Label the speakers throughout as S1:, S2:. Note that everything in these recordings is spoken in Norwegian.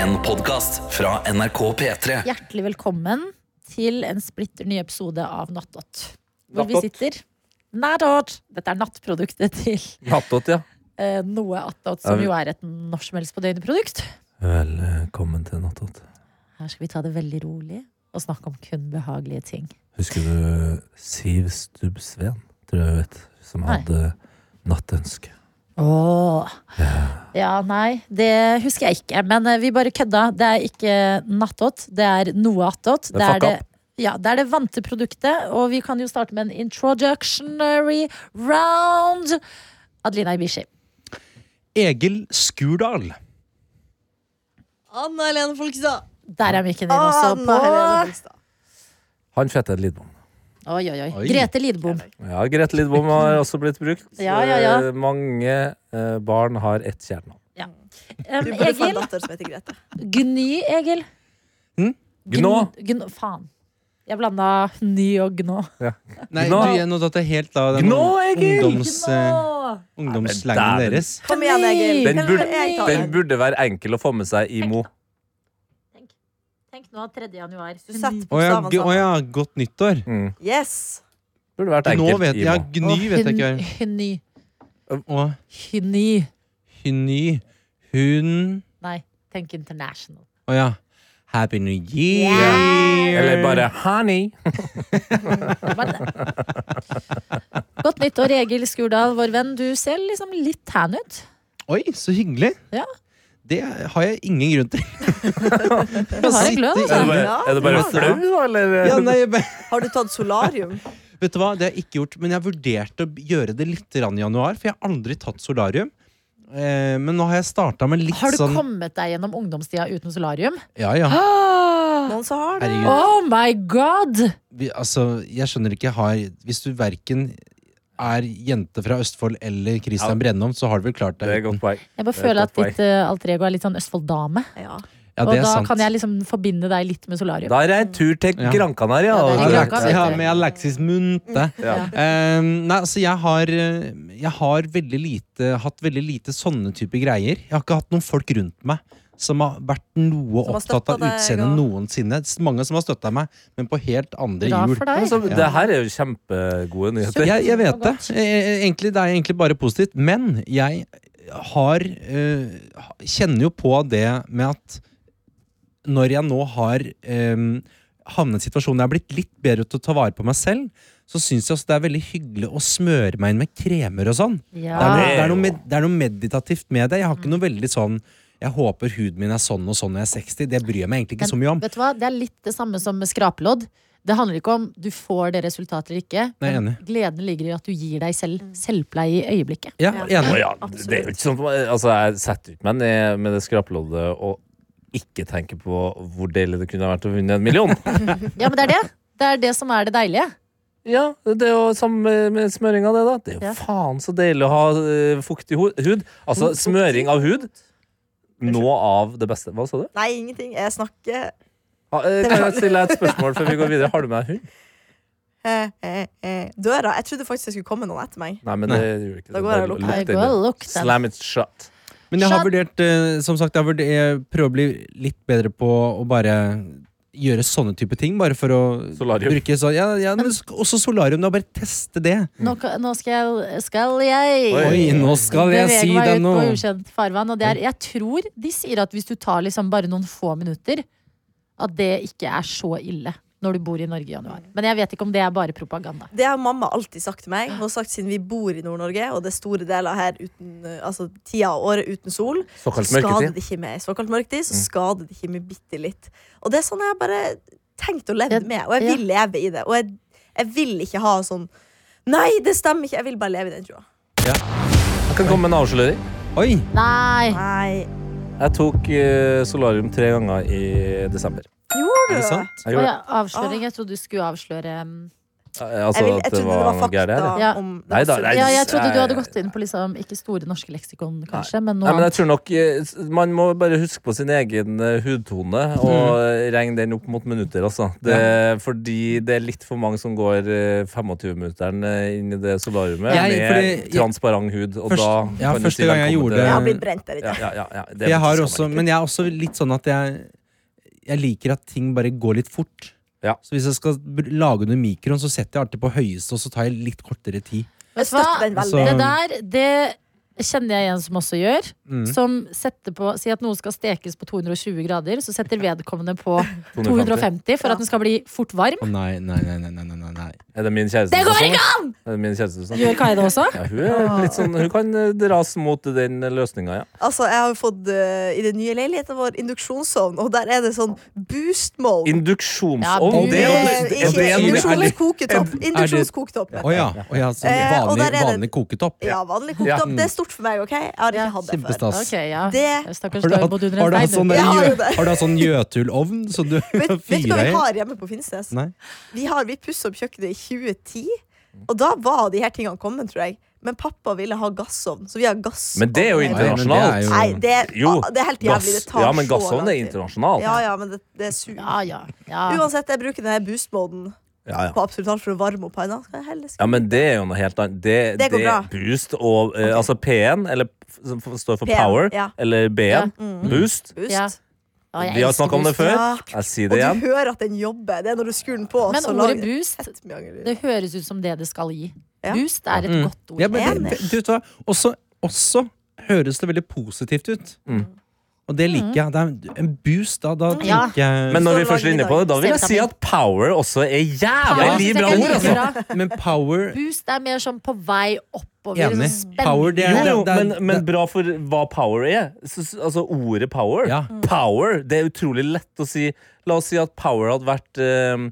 S1: En podcast fra NRK P3
S2: Hjertelig velkommen til en splitter ny episode av Nattdott. Hvor vi
S3: Nattdott?
S2: sitter Nærdott! Dette er nattproduktet til
S3: Nattåt, ja.
S2: eh, noe attåt,
S3: Ja,
S2: som
S3: vi-
S2: jo er et når som helst på døgnet-produkt.
S3: Velkommen til Nattåt.
S2: Her skal vi ta det veldig rolig og snakke om kun behagelige ting.
S3: Husker du Siv Stubbsveen, tror jeg hun het, som
S2: Nei.
S3: hadde nattønske?
S2: Åh. Ja, nei, det husker jeg ikke. Men eh, vi bare kødda. Det er ikke nattåt, det er noe attåt.
S3: Det er fuck up.
S2: ja, det er det vante produktet, og vi kan jo starte med en introductionary round. Adelina Ibishi.
S4: Egil Skurdal.
S5: Anna Helene Folkestad.
S2: Der er mikken din
S5: Ah,
S2: også på.
S3: Han fette Lidbom.
S2: Oi, oi, oi.
S4: Oi.
S2: Grete Lidbom.
S3: Ja, Grete Lidbom har også blitt brukt.
S2: Ja, ja, ja.
S3: Eh, Mange eh, barn har ett kjernavn.
S2: Um,
S5: Du burde få en
S2: Egil.
S5: datter som heter Grete.
S2: Gny, Egil.
S4: Hm?
S3: Gnå.
S2: Gn- Gn faen. Jeg blanda ny og gnå.
S4: Nei,
S3: Gnå.
S4: du, jeg, nå datt jeg helt av den
S3: Gnå, Egil!
S4: ungdoms, eh,
S2: Gnå!
S4: ungdomsslangen
S3: Nei, men
S4: deres.
S5: Kom igjen, Egil.
S3: Den burde-
S5: Jeg tar
S3: Den burde være enkel å få med seg i Mo.
S2: Tenk nå, 3. januar.
S5: Du setter
S4: Å ja,
S2: sånn.
S5: bokstavene
S4: g- å
S5: sammen.
S4: ja, godt nyttår.
S3: Mm.
S5: Yes.
S3: Burde vært
S4: Nå
S3: enkelt
S4: vet
S3: i
S4: jeg, ja,
S3: Mo.
S4: Gny vet jeg ikke.
S2: Hynny.
S4: hva er.
S2: Hynny.
S4: Å, Hynny. Hun
S2: Nei, tenk international.
S4: Å ja. Happy New Year.
S3: Eller bare honey.
S2: Bare det. Godt nyttår, Egil Skurdal, vår venn. Du ser liksom litt tan ut.
S4: Oi, så hyggelig.
S2: Ja.
S4: Det har jeg ingen grunn til.
S2: Du har en glød,
S3: Er det
S2: altså.
S3: bare, er det bare
S5: Ja.
S3: flau, da, eller?
S4: Ja, nei, jeg, bare-
S5: Har du tatt solarium?
S4: vet du hva, det har jeg ikke gjort. Men jeg vurderte å gjøre det litt grann i januar, for jeg har aldri tatt solarium. Eh, men nå har jeg starta med litt
S2: Har du
S4: sånn
S2: kommet deg gjennom ungdomstida uten solarium?
S4: Ja, ja.
S5: Noen som har det?
S4: Herregud.
S2: Oh my god!
S4: vi, altså, jeg skjønner ikke har, Hvis du verken er jente fra Østfold eller Christian
S3: Ja.
S4: Brennholm, så har du vel klart
S3: Det er
S4: deg
S3: et godt poeng.
S2: Jeg bare
S3: Det er
S2: føler
S3: et
S2: at
S3: godt
S2: ditt eh, alter ego er litt sånn Østfold-dame.
S5: Ja.
S4: Ja,
S2: og
S4: det er
S2: da
S4: sant.
S2: kan jeg liksom forbinde deg litt med solarium.
S3: Da er det en tur til
S4: Ja.
S3: Gran Canaria.
S2: Ja, det er
S3: da.
S2: Gran Canaria.
S4: Alexis, ja, med Alexis Munte.
S3: Ja.
S4: Eh, nei, altså, jeg har, eh, jeg har veldig lite, hatt veldig lite sånne type greier. Jeg har ikke hatt noen folk rundt meg som har vært noe
S5: Som har
S4: opptatt
S5: støttet
S4: av
S5: deg,
S4: utseendet
S5: og-
S4: noensinne. Mange som har støtta meg, men på helt andre
S2: Bra
S4: hjul.
S2: for
S3: Ja,
S2: deg.
S3: så Det her er jo kjempegode nyheter.
S4: Jeg, jeg vet det.
S2: Godt.
S4: Eh, Egentlig, det er egentlig bare positivt. Men jeg har eh, ha- Kjenner jo på det med at når jeg nå har eh, havnet i situasjonen jeg har blitt litt bedre til å ta vare på meg selv, så syns jeg også det er veldig hyggelig å smøre meg inn med kremer og sånn. Det er, noe,
S2: Ja.
S4: det, er noe med, det er noe meditativt med det. Jeg har ikke noe veldig sånn Jeg håper huden min er sånn og sånn når jeg er 60. Det bryr jeg meg egentlig ikke så mye om.
S2: Vet du hva? Det er litt det samme som med skrapelodd. Det handler ikke om du får det resultatet eller ikke.
S4: Nei,
S2: men
S4: enig.
S2: Gleden ligger i at du gir deg selv selvpleie i øyeblikket.
S4: Ja,
S3: Å
S4: enig.
S3: ja, det er jo ikke sånn for meg. Altså, jeg setter ut meg ned med det skrapeloddet og ikke tenker på hvor deilig det kunne vært å vinne en million.
S2: Ja, men det er det. Det er det som er det deilige.
S3: ja, det er jo samme med smøring av det, da. Det er
S2: Ja.
S3: jo faen så deilig å ha eh, fuktig ho- hud. Altså, smøring av hud noe av det beste. Hva sa du?
S5: Nei, ingenting. Jeg snakker
S3: Ha, eh, kan jeg stille deg et spørsmål før vi går videre? Har du med deg hund?
S5: eh, eh, eh. Døra. Jeg trodde faktisk det skulle komme noen etter meg.
S3: Nei, men
S4: Nei.
S3: det gjør ikke
S5: Da går jeg og
S3: Bare
S5: lukker.
S3: lukk
S2: Jeg
S3: den
S2: går
S3: ned.
S2: og lukker den.
S3: Slam it shut.
S4: Men jeg har
S2: Skjønn.
S4: vurdert eh, Som sagt, jeg, har vurder- jeg prøver å bli litt bedre på å bare gjøre sånne type ting. Bare for å
S3: Solarium.
S4: bruke så, ja, ja, men sk- Også solarium. Da bare teste det.
S2: Nå, ka- nå skal, jeg- skal jeg
S4: Oi, nå skal jeg
S2: bevege
S4: si
S2: meg
S4: deg
S2: ut
S4: noe!
S2: på ukjent farvann. Og det er, jeg tror de sier at hvis du tar liksom bare noen få minutter, at det ikke er så ille når du bor i Norge i januar. Men jeg vet ikke om det er bare propaganda.
S5: Det har mamma alltid sagt til meg. Hun har sagt siden vi bor i Nord-Norge, og det er store deler her uten eh, Altså tida av året uten sol, så
S3: Såkalt
S5: skader
S3: mørketid. Mm.
S5: det ikke med såkalt mørketid. Så skader det ikke med bitte litt. Og det er sånn jeg har bare tenkt å leve
S2: Ja,
S5: med, og jeg vil leve i det. Og jeg, jeg vil ikke ha sånn Nei, det stemmer ikke! Jeg vil bare leve i den trua.
S3: Jeg kan komme med en avsløring.
S4: Oi!
S2: Nei!
S5: Nei.
S3: Jeg tok eh, solarium tre ganger i eh, desember.
S5: Gjorde
S4: Er
S5: du
S4: det
S5: det?
S4: sant?
S3: Jeg
S2: Å
S3: gjorde det.
S2: ja, avsløring. Jeg trodde du skulle avsløre um,
S3: Altså
S5: Jeg, vil, jeg
S3: at det
S5: trodde det var
S3: var noe
S5: fakta
S3: gærent? eller?
S2: Ja.
S5: om
S3: Nei da,
S5: sunn-
S3: nei,
S2: Ja, jeg
S3: s-
S2: trodde du hadde
S3: jeg-
S2: gått inn på liksom, ikke Store norske leksikon, kanskje, men noe
S3: Nei, men jeg
S2: annet.
S3: tror nok eh, s- Man må bare huske på sin egen eh, hudtone og
S4: Mm.
S3: eh, regne den opp mot minutter. Altså. Det, Fordi det er litt for mange som går 25-minutteren inn i det solariumet
S4: Jeg-
S3: med
S4: fordi-
S3: transparent hud. Og
S4: Først-
S3: da
S4: ja,
S3: kan du
S4: første
S3: si
S4: gang jeg
S3: velkommen
S4: gjorde
S3: til-
S5: Jeg har blitt brent der
S3: ja,
S5: inne.
S3: ja, ja, ja. Det er
S4: Jeg har
S3: faktisk
S4: også,
S3: skammeriktig.
S4: men jeg er også litt sånn at jeg, jeg liker at ting bare går litt fort.
S3: Ja.
S4: Så hvis jeg skal br- lage under mikroen, så setter jeg alltid på høyeste, og så tar jeg litt kortere tid.
S5: Jeg
S2: Vet du hva?
S5: støtter den veldig.
S4: Altså-
S2: Det der, det kjenner jeg en som også gjør.
S4: Mm.
S2: Som setter på Si at noe skal stekes på 220 grader, så setter vedkommende på
S3: 250.
S2: 250 for
S5: Ja.
S2: at den skal bli fort varm.
S4: Å nei, nei, nei, nei, nei, nei, nei.
S3: Er det min kjæreste
S2: Det
S3: som
S2: går
S3: sånn?
S2: ikke
S3: Er det min kjæreste som
S2: Gjør Kai det også?
S3: Ja, hun, er litt sånn, hun kan eh, dras mot den løsninga, ja.
S5: Altså, jeg har jo fått eh, i den nye leiligheten vår induksjonsovn, og der er det sånn boost mode.
S3: Induksjonsovn! det er-
S2: Ja,
S5: Eh,
S3: det er-
S5: ikke
S3: det er noe-
S4: induksjon.
S5: induksjonskoketopp. Induksjonskoketopp.
S4: Å ja. å ja så
S5: Eh, og
S4: vanlig,
S5: der er
S4: vanlig koketopp.
S5: Ja, vanlig koketopp. Det er stort for meg, OK? Jeg har
S2: Ja.
S5: ikke hatt det før.
S4: Kjempestas.
S2: Ok, ja.
S5: Det-
S2: Stakkars
S4: Har du hatt,
S2: Tormod under
S4: har du
S2: en
S4: hatt
S2: stein.
S4: sånn,
S5: Jeg har jo
S4: gjø-
S5: det.
S4: har du hatt sånn gjøtullovn som du
S5: Vet, vet du hva
S4: fyrer
S5: vi
S4: i?
S5: har hjemme på Finnsnes?
S4: Nei.
S5: Vi, har- vi pussa opp kjøkkenet i 2010, og da var de her tingene kommet, tror jeg. Men pappa ville ha gassovn, så vi har gassovn.
S3: Men det er jo
S4: Nei, men det
S3: internasjonalt.
S4: er jo-
S5: Nei, det, er-
S3: Jo,
S5: ah, det er helt jævlig. Det
S3: Gass.
S5: tar
S3: Ja, men
S5: så
S3: gassovn
S5: lang
S3: er
S5: tid.
S3: internasjonalt.
S5: Ja, ja, men det, det suger.
S2: Ja, ja, ja.
S5: Uansett, jeg bruker denne boost-moden
S3: Ja, ja.
S5: på absolutt alt for å varme opp panna. Skal jeg heller
S3: Ja,
S5: skru-
S3: men det er jo noe helt annet. Det,
S5: Det går bra.
S3: Boost og eh, Altså P1, eller f- som f- står for
S5: P1,
S3: Power,
S5: ja. Mm.
S3: eller B1. Boost.
S5: Boost.
S2: Ja. Å, jeg
S3: Vi har
S2: elsker
S3: snakka om det
S2: boost.
S3: før.
S5: Ja.
S3: Jeg sier
S5: Og
S3: det igjen.
S5: du hører at den jobber. Det er når du skrur den på.
S2: Men
S5: så
S2: ordet
S5: lager-
S2: boost,
S5: Fett mye angel.
S2: det høres ut som det det skal gi.
S5: Ja.
S2: Boost er et
S4: Mm.
S2: godt ord.
S4: Ja, men
S5: Enig.
S4: det, det, vet du hva? Også, også høres det veldig positivt ut.
S3: Mm.
S4: Og det liker jeg. Det er en boost, da. da
S2: Ja.
S4: tenker jeg
S3: Men
S5: Står
S3: når vi
S5: og
S3: først er
S5: lager
S3: inne på det, da vil jeg si at power også er
S2: Power
S3: jævlig
S2: synes
S3: bra
S2: jeg
S3: ord,
S2: er
S3: altså!
S2: like bra.
S4: Men power
S2: Boost er mer sånn på vei oppover.
S4: Enig.
S2: sånn spennende.
S4: Power, det er-
S3: Jo, jo,
S4: det
S3: men, men bra for hva power er. Så, så- altså ordet power.
S4: Ja.
S3: Power, det er utrolig lett å si. La oss si at power hadde vært eh,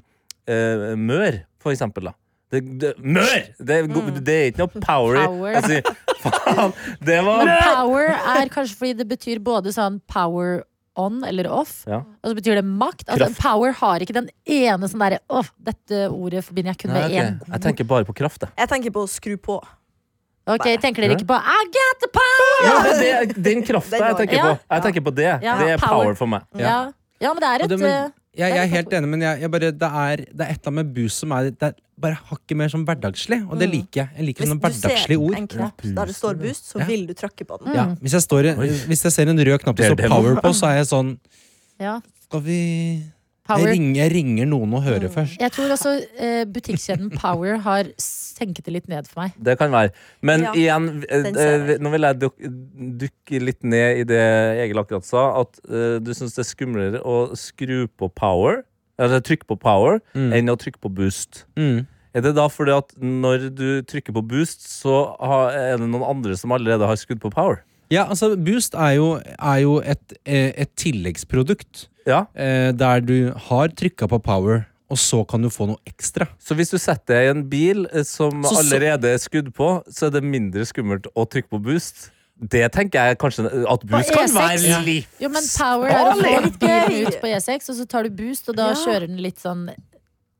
S3: eh, mør, for eksempel. Da. Det, det, mør! Det, er go-
S2: Mm.
S3: det er ikke noe power i
S2: Power.
S3: å si faen, det var
S2: Men power er kanskje fordi det betyr både sånn power on eller off,
S3: Ja.
S2: og så betyr det makt. Altså,
S3: Kraft.
S2: power har ikke den ene sånn derre Å, dette ordet forbinder jeg kun
S3: Nei,
S2: med
S3: ok.
S2: én
S3: Jeg tenker bare på kraft, jeg.
S5: Jeg tenker på å skru på.
S2: Ok, tenker dere ikke på I got the power!
S3: Ja, men det, er- den krafta
S5: Den
S3: jeg
S5: var-
S3: tenker
S2: Ja.
S3: på. Jeg tenker på det.
S2: Ja.
S3: Det er
S2: Power.
S3: power for meg.
S2: Ja. ja, men det er
S4: Og
S2: et
S4: det, men,
S2: eh,
S4: jeg, jeg er
S2: et
S4: helt enig, men jeg, jeg bare, det, er, det er et av med boost som er Det er bare hakket mer sånn hverdagslig, og det liker jeg. Jeg liker
S5: Hvis
S4: sånne
S5: du ser
S4: hverdagslige sånn ord.
S5: en knapp der det står boost, så
S4: Ja.
S5: vil du trykke på
S2: Mm.
S5: den.
S4: Ja, hvis, jeg står i, hvis jeg ser en rød knapp det
S3: Det er
S4: står
S3: det.
S4: power på, så er jeg sånn
S2: ja,
S4: Skal vi jeg
S2: power.
S4: ringer, jeg ringer noen og hører først.
S2: Jeg tror også eh, butikkjeden Power har senket det litt ned for meg.
S3: Det kan være. Men
S5: Ja,
S3: igjen, eh,
S5: den ser jeg.
S3: eh, nå vil jeg duk- dukke litt ned i det Egil akkurat sa. At eh, du syns det er skumlere å skru på power, eller trykke på power,
S4: Mm.
S3: enn å trykke på boost.
S4: Mm.
S3: Er det da fordi at når du trykker på boost, så har, er det noen andre som allerede har skrudd på power?
S4: Ja, altså Boost er jo, er jo et, eh, et tilleggsprodukt
S3: Ja.
S4: eh, der du har trykka på power, og så kan du få noe ekstra.
S3: Så hvis du setter deg i en bil eh, som
S4: Så- så-
S3: allerede er skrudd på, så er det mindre skummelt å trykke på boost. Det tenker jeg kanskje at boost kan
S4: E
S2: E6?
S3: være liv.
S2: Jo, men Power er å få
S5: Farlig!
S2: bilen ut på E6, og så tar du boost, og da
S5: Ja.
S2: kjører den litt sånn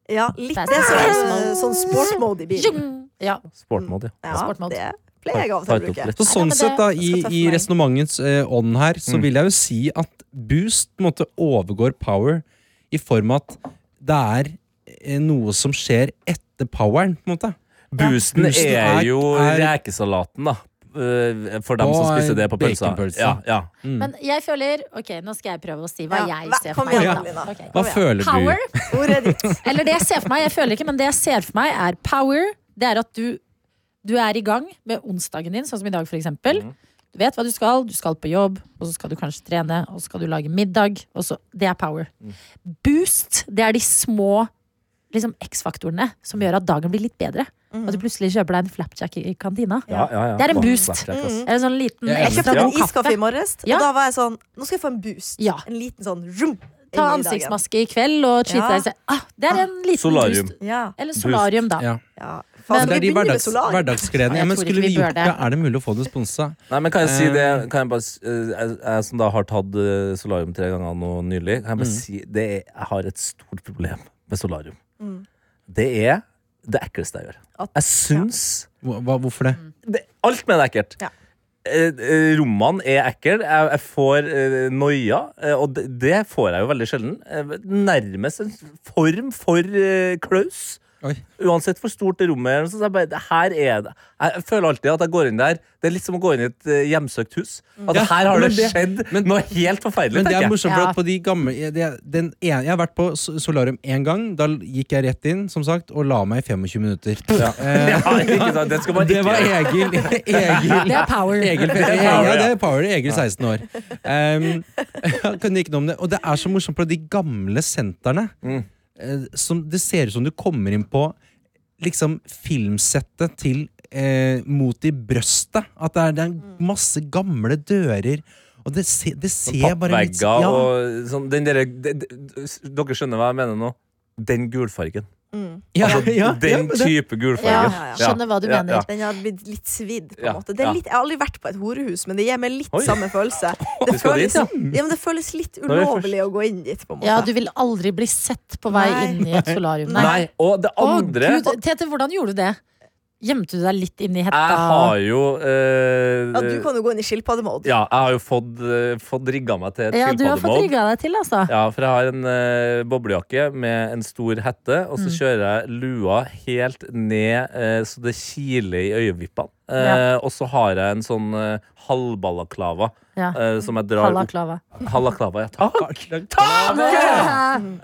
S5: Ja, litt
S2: Det er
S5: det er sånn,
S2: smart.
S5: sånn sportsmode i bilen.
S2: Tjung! Ja.
S3: Sportmode, ja.
S5: Ja,
S2: Sportmode.
S5: det pleier jeg av og til å
S3: Tight opp
S5: bruke.
S3: litt.
S4: Så
S2: Ja, men
S4: sånn
S2: det-
S4: sett, da,
S5: skal
S4: i,
S5: ta for
S4: i
S5: meg.
S4: resonnementets eh, ånd her, så
S3: Mm.
S4: vil jeg jo si at boost på en måte overgår power i form av at det er eh, noe som skjer etter poweren, på en måte.
S3: Boosten
S4: Boosten
S3: er
S4: er-
S3: jo
S4: er-
S3: rekesalaten, da. Eh, For dem
S4: Og
S3: som spiser det på pølsa.
S4: baconpølse.
S3: Ja, ja.
S2: Men jeg føler Ok, nå skal jeg prøve å si hva
S5: Ja,
S2: jeg
S5: hva-
S2: ser
S5: kom
S2: for meg.
S5: igjen,
S2: da.
S5: Lina.
S2: Ok.
S4: Hva
S5: Kom igjen.
S4: føler du?
S2: Power,
S5: Ordet ditt.
S2: eller det jeg ser for meg, jeg føler ikke, men det jeg ser for meg, er power. Det er at du, du er i gang med onsdagen din, sånn som i dag, for eksempel.
S4: Mhm.
S2: Du vet hva du skal, du skal på jobb, og så skal du kanskje trene, og så skal du lage middag. Og så, det er power.
S4: Mm.
S2: Boost, det er de små liksom, X-faktorene som gjør at dagen blir litt bedre. At du plutselig kjøper deg en flapjack i kantina.
S3: Ja, ja, ja.
S2: Det er en
S3: Åh,
S2: boost.
S3: sterkt, ass.
S2: Eller en sånn liten
S4: Jeg er enig.
S5: Jeg
S2: ekstra
S5: kjøpte
S3: Ja.
S5: en
S2: god
S5: iskaffe i
S2: kaffe.
S5: morges, og
S2: Ja.
S5: da var jeg sånn Nå skal jeg få en boost.
S2: Ja.
S5: En liten sånn rum.
S2: Ta
S5: inn i dagen.
S2: ansiktsmaske i kveld og cheat
S5: Ja.
S2: deg selv. Ah, det er en liten
S3: Solarium.
S2: boost.
S5: Ja.
S2: Eller solarium, da.
S4: Ja. Altså,
S5: ja.
S2: Men-
S5: Faen,
S4: Det
S5: skal
S4: er
S5: vi
S4: de
S5: begynne med
S4: hverdags,
S5: solar?
S4: hverdagsgreiene.
S2: Ja, jeg
S4: Ja, men
S2: tror
S4: skulle
S2: ikke vi
S4: vi
S2: bør
S4: gjort det?
S2: det.
S4: Er det mulig å få det sponsa?
S3: Nei, men kan jeg si det
S4: Eh.
S3: kan jeg, bare, s- eh, jeg, jeg som da har tatt eh, solarium tre ganger nå
S4: Mm.
S2: Mm.
S3: nylig, kan jeg bare si det er, jeg har et stort problem med solarium. Det er det ekleste jeg gjør.
S5: At-
S3: Jeg syns
S4: Hva, hva- hvorfor det?
S3: det, Alt med det er ekkelt.
S5: Ja.
S3: Eh, eh, Rommene er ekle. Jeg, jeg får eh, noia, eh, og det, det får jeg jo veldig sjelden. Eh, Nærmest en form for eh, klaus.
S4: Oi.
S3: Uansett hvor stort det rommet er, så er jeg bare, det her er det. Jeg føler alltid at jeg går inn der. Det er litt som å gå inn i et eh, hjemsøkt hus. At
S4: Ja,
S3: her har
S4: men
S3: det,
S4: det-
S3: skjedd noe helt forferdelig,
S4: Men det er
S3: tenker jeg.
S4: morsomt, for
S2: Ja.
S4: at på de gamle jeg- det, den ene, Jeg har vært på S- solarium én gang. Da l- gikk jeg rett inn som sagt, og la meg i 25 minutter. Eh,
S3: Ja, ikke sant? Det skal man
S4: det
S3: ikke
S4: var
S3: gjøre.
S4: Egil. Egil
S2: Det er power.
S4: Egil,
S3: er
S4: Egil,
S3: Power,
S4: ja, det
S3: ja.
S4: er Power Egil 16 år. Um, jeg kunne ikke noe om det. Og det er så morsomt på de gamle sentrene.
S3: Mm.
S4: eh, Som det ser ut som du kommer inn på liksom filmsettet til eh, mot i brøstet. At det er, det er masse gamle dører. Og det, se, det ser bare litt
S3: Pappvegger
S4: ja,
S3: og sånn den derre de- de- s- Dere skjønner hva jeg mener nå? Den gulfargen.
S5: Mm.
S4: ja,
S3: Altså,
S4: ja, ja,
S3: den
S4: men det-
S3: type gulfargen.
S5: Ja, ja, ja.
S2: Skjønner hva du
S3: Ja,
S2: mener.
S5: Den har blitt litt svidd, på en
S3: Ja,
S5: måte. Det er
S3: ja.
S5: litt, jeg har aldri vært på et horehus, men det gir meg litt
S3: Oi.
S5: samme følelse. Det
S3: skal dit,
S5: føles,
S3: ja.
S5: ja, men det føles litt
S3: er vi først.
S5: ulovlig å gå inn dit, på en måte.
S2: Ja, du vil aldri bli sett på vei
S5: Nei.
S2: inn i et solarium.
S3: Nei. og det
S2: Å,
S3: andre
S2: Gud, Tete, hvordan gjorde du det? Gjemte du deg litt inn i hetta?
S3: Jeg har jo eh,
S5: Ja, du kan jo gå inn i skilpaddemode.
S3: Ja, jeg har jo fått, eh, fått rigga meg til et
S2: ja, du har fått
S3: skilpaddemode.
S2: rigga deg til, altså.
S3: Ja, for jeg har en eh, boblejakke med en stor hette, og
S5: Mm.
S3: så kjører jeg lua helt ned eh, så det kiler i øyevippene. Eh, Og så har jeg en sånn eh, halvbalaklava
S2: Ja.
S3: eh, som jeg drar opp.
S2: Halaklava.
S3: Halaklava, ja. Takk!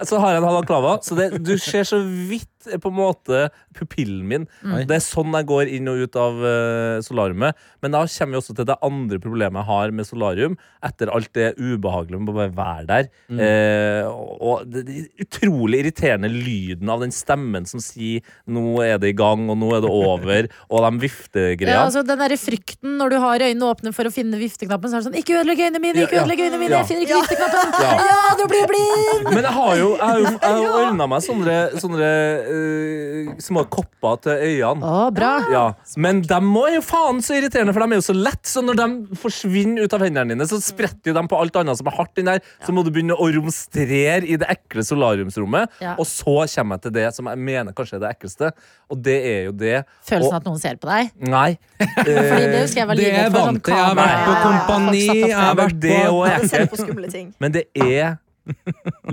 S3: Så har jeg en halaklava. Så det, du ser så vidt eh, på en måte pupillen min. Det er sånn jeg går inn og ut av eh, solariumet. Men da kommer vi også til det andre problemet jeg har med solarium. Etter alt det ubehagelige med å bare være der. Eh, og- og det, det utrolig irriterende lyden av den stemmen som sier 'nå er det i gang', og 'nå er det over', og de viftegreiene.
S2: Ja, altså, den derre frykten når du har øynene åpne for å finne vifteknappen, så er det sånn Ikke ødelegg øynene mine! Ikke
S3: Ja, ja.
S2: ødelegg øynene mine!
S3: Ja.
S2: Jeg finner ikke vifteknappen!
S3: Ja.
S2: Ja, du blir blind!
S3: Men jeg har jo, jeg har jo, jeg har jo ordna meg sånne, sånne eh, små kopper til øynene.
S2: Å, bra.
S3: Ja. Men dem òg er jo faen så irriterende, for de er jo så lett Så når de forsvinner ut av hendene dine, så spretter jo de på alt annet som er hardt inni der. Så må du begynne å romstrere i det ekle solariumsrommet.
S2: Ja.
S3: Og så kommer jeg til det som jeg mener kanskje er det ekleste, og det er jo det
S2: Følelsen
S3: Og- Eh,
S2: av at noen ser på deg.
S3: Nei.
S2: Fordi det husker jeg var
S4: Det
S2: livredd for. Sånn
S4: vant jeg. Jeg har vært
S2: kamera.
S4: på
S5: Ja, ja, ja.
S4: Kompani.
S2: Folk satt opp
S4: Jeg har
S2: der.
S3: Men
S4: vært
S3: det
S4: på
S3: òg er
S5: Jeg ser
S3: ekkelt.
S5: på skumle ting.
S3: Men det er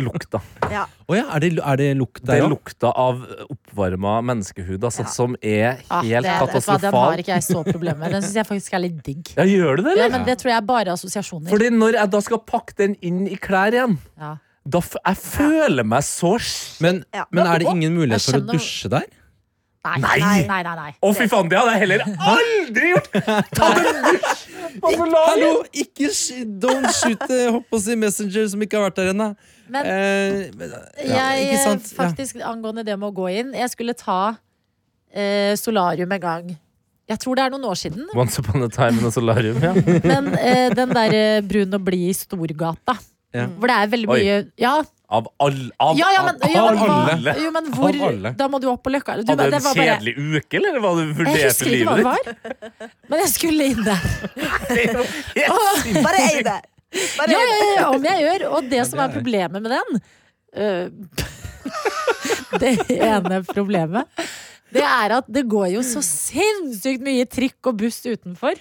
S3: lukta.
S5: Ja.
S4: Å ja, er det, er det lukt
S3: Det
S4: der
S3: er
S4: òg?
S3: lukta av oppvarma menneskehud, altså, som er helt
S2: Ah, det, vet du hva, den
S3: katastrofal.
S2: har ikke jeg så problemer med. Den syns jeg faktisk er litt digg.
S3: Ja, gjør du det,
S2: Ja,
S3: eller?
S2: men det tror jeg er bare assosiasjoner.
S3: Fordi når jeg da skal pakke den inn i klær igjen,
S2: Ja.
S3: da f jeg føler meg så sk-
S4: Men,
S5: Ja.
S4: men er det ingen mulighet
S2: Jeg
S4: for å
S2: skjønner-
S4: dusje der?
S2: Nei,
S3: Nei.
S2: nei, nei, nei, nei.
S3: Å, fy faen, det hadde jeg heller aldri gjort! Ta den dusj! på solarium!
S4: Hallo, ikke sh don't shoot eh, Hopp på sin messenger som ikke har vært der ennå.
S2: Men-
S4: eh, men- ja,
S2: jeg,
S4: ikke sant?
S2: eh, Faktisk Angående det med å gå inn. Jeg skulle ta eh, solarium en gang. Jeg tror det er noen år siden.
S3: Once upon a time in a solarium, ja.
S2: Men eh, den der eh, brun og blid i Storgata.
S4: Ja.
S2: Hvor det er veldig
S3: Oi.
S2: mye Ja,
S3: Av all, av,
S2: ja, ja men, ja, men, hva,
S3: alle.
S2: jo, men hvor
S4: Av alle.
S2: Da må du opp på Løkka. Du,
S3: Hadde
S2: men
S3: du
S2: det
S3: en
S2: var bare-
S3: kjedelig uke, eller var det
S2: Jeg
S3: vurderte
S2: husker ikke hva
S3: livet
S2: det
S3: ditt?
S2: var, men jeg skulle inn der.
S5: Bare ei det! Bare
S2: Ja,
S5: ei det.
S2: ja, ja, om jeg gjør. Og det som er problemet med den øh, Det ene problemet, det er at det går jo så sinnssykt mye trikk og buss utenfor.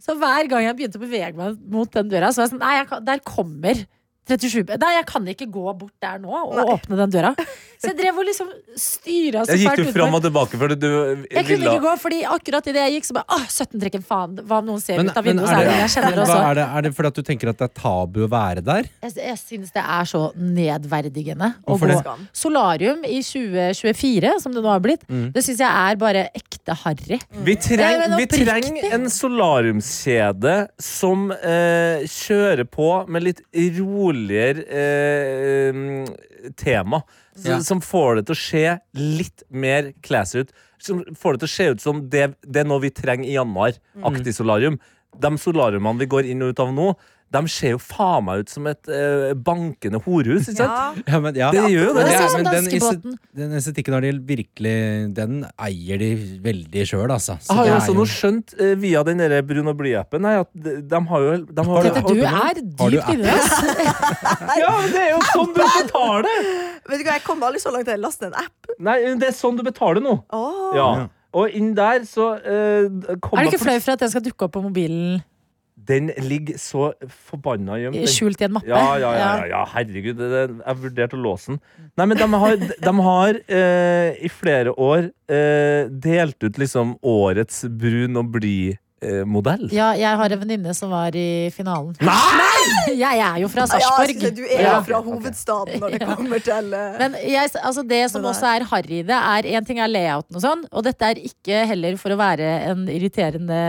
S2: Så hver gang jeg begynte å bevege meg mot den døra, så var jeg sånn Nei, jeg kan, der kommer 37 b- Nei, jeg kan ikke gå bort der nå og åpne den døra. Så jeg drev og liksom styra så
S3: Jeg
S2: fælt
S3: gikk jo fram
S2: utenfor.
S3: og tilbake fordi du
S2: Jeg kunne
S3: ville
S2: ikke gå, fordi akkurat idet jeg gikk, så bare Åh, 17-trekken, faen! Hva om noen ser
S4: Men-
S2: ut av
S4: men
S2: vinduet,
S4: er
S2: så er det
S4: det-
S2: jeg kjenner det
S4: Hva
S2: også.
S4: er, det, er det fordi at du tenker at det er tabu å være der?
S2: Jeg, jeg syns det er så nedverdigende å
S4: Hvorfor
S2: gå.
S4: det?
S5: Skam.
S2: Solarium i 2024, som det nå har blitt, det syns jeg er bare ekte harry.
S3: Vi
S2: Nei,
S3: trenger
S2: men
S3: vi
S2: oppriktig.
S3: trenger en solariumskjede som eh, kjører på med litt roligere eh, mm, tema. S-
S4: Ja.
S3: Som får det til å se litt mer classy ut. Som får det til å se ut som
S2: Mm.
S3: det, det er noe vi trenger i januar. Aktig solarium. De solariumene vi går inn og ut av nå, de ser jo faen meg ut som et eh, bankende horehus, ikke sant?
S5: Ja.
S4: Ja, men, ja.
S3: Det gjør jo det.
S2: Det er
S4: er-
S2: sånn
S4: den,
S2: danskebåten.
S4: esti- den estetikken har de virkelig Den eier de veldig sjøl, altså. Så
S3: Jeg har
S4: det
S3: jo
S4: er
S3: også nå skjønt eh, via den der Brun og blid-appen her, at de, de har jo de har,
S2: Tete, du er
S4: Har du
S2: dypt inne.
S3: Ja, men det er jo sånn du betaler!
S5: Vet du hva, Jeg kom aldri så langt at jeg lastet en app.
S3: Nei, det er sånn du betaler nå.
S5: Åh.
S3: Ja. Og inn der så eh, kom
S2: Er
S3: det
S2: du ikke flau for at den skal dukke opp på mobilen eh,
S3: Den ligger så forbanna gjemt. den.
S2: skjult i en mappe?
S3: Ja, ja, ja, ja, ja, herregud. Det, det, jeg vurderte å låse den. Nei, men de har, de har eh, i flere år eh, delt ut liksom årets eh, brun og blid-modell.
S2: Ja, jeg har en venninne som var i finalen. Jeg er jo fra
S5: Ja, jeg
S2: Sarpsborg.
S5: skulle si, du er jo
S2: Ja.
S5: fra hovedstaden når det kommer til eh,
S2: Men jeg, altså det som
S5: Men det-
S2: også er harry i det, er en ting er layouten og sånn, og dette er ikke heller for å være en irriterende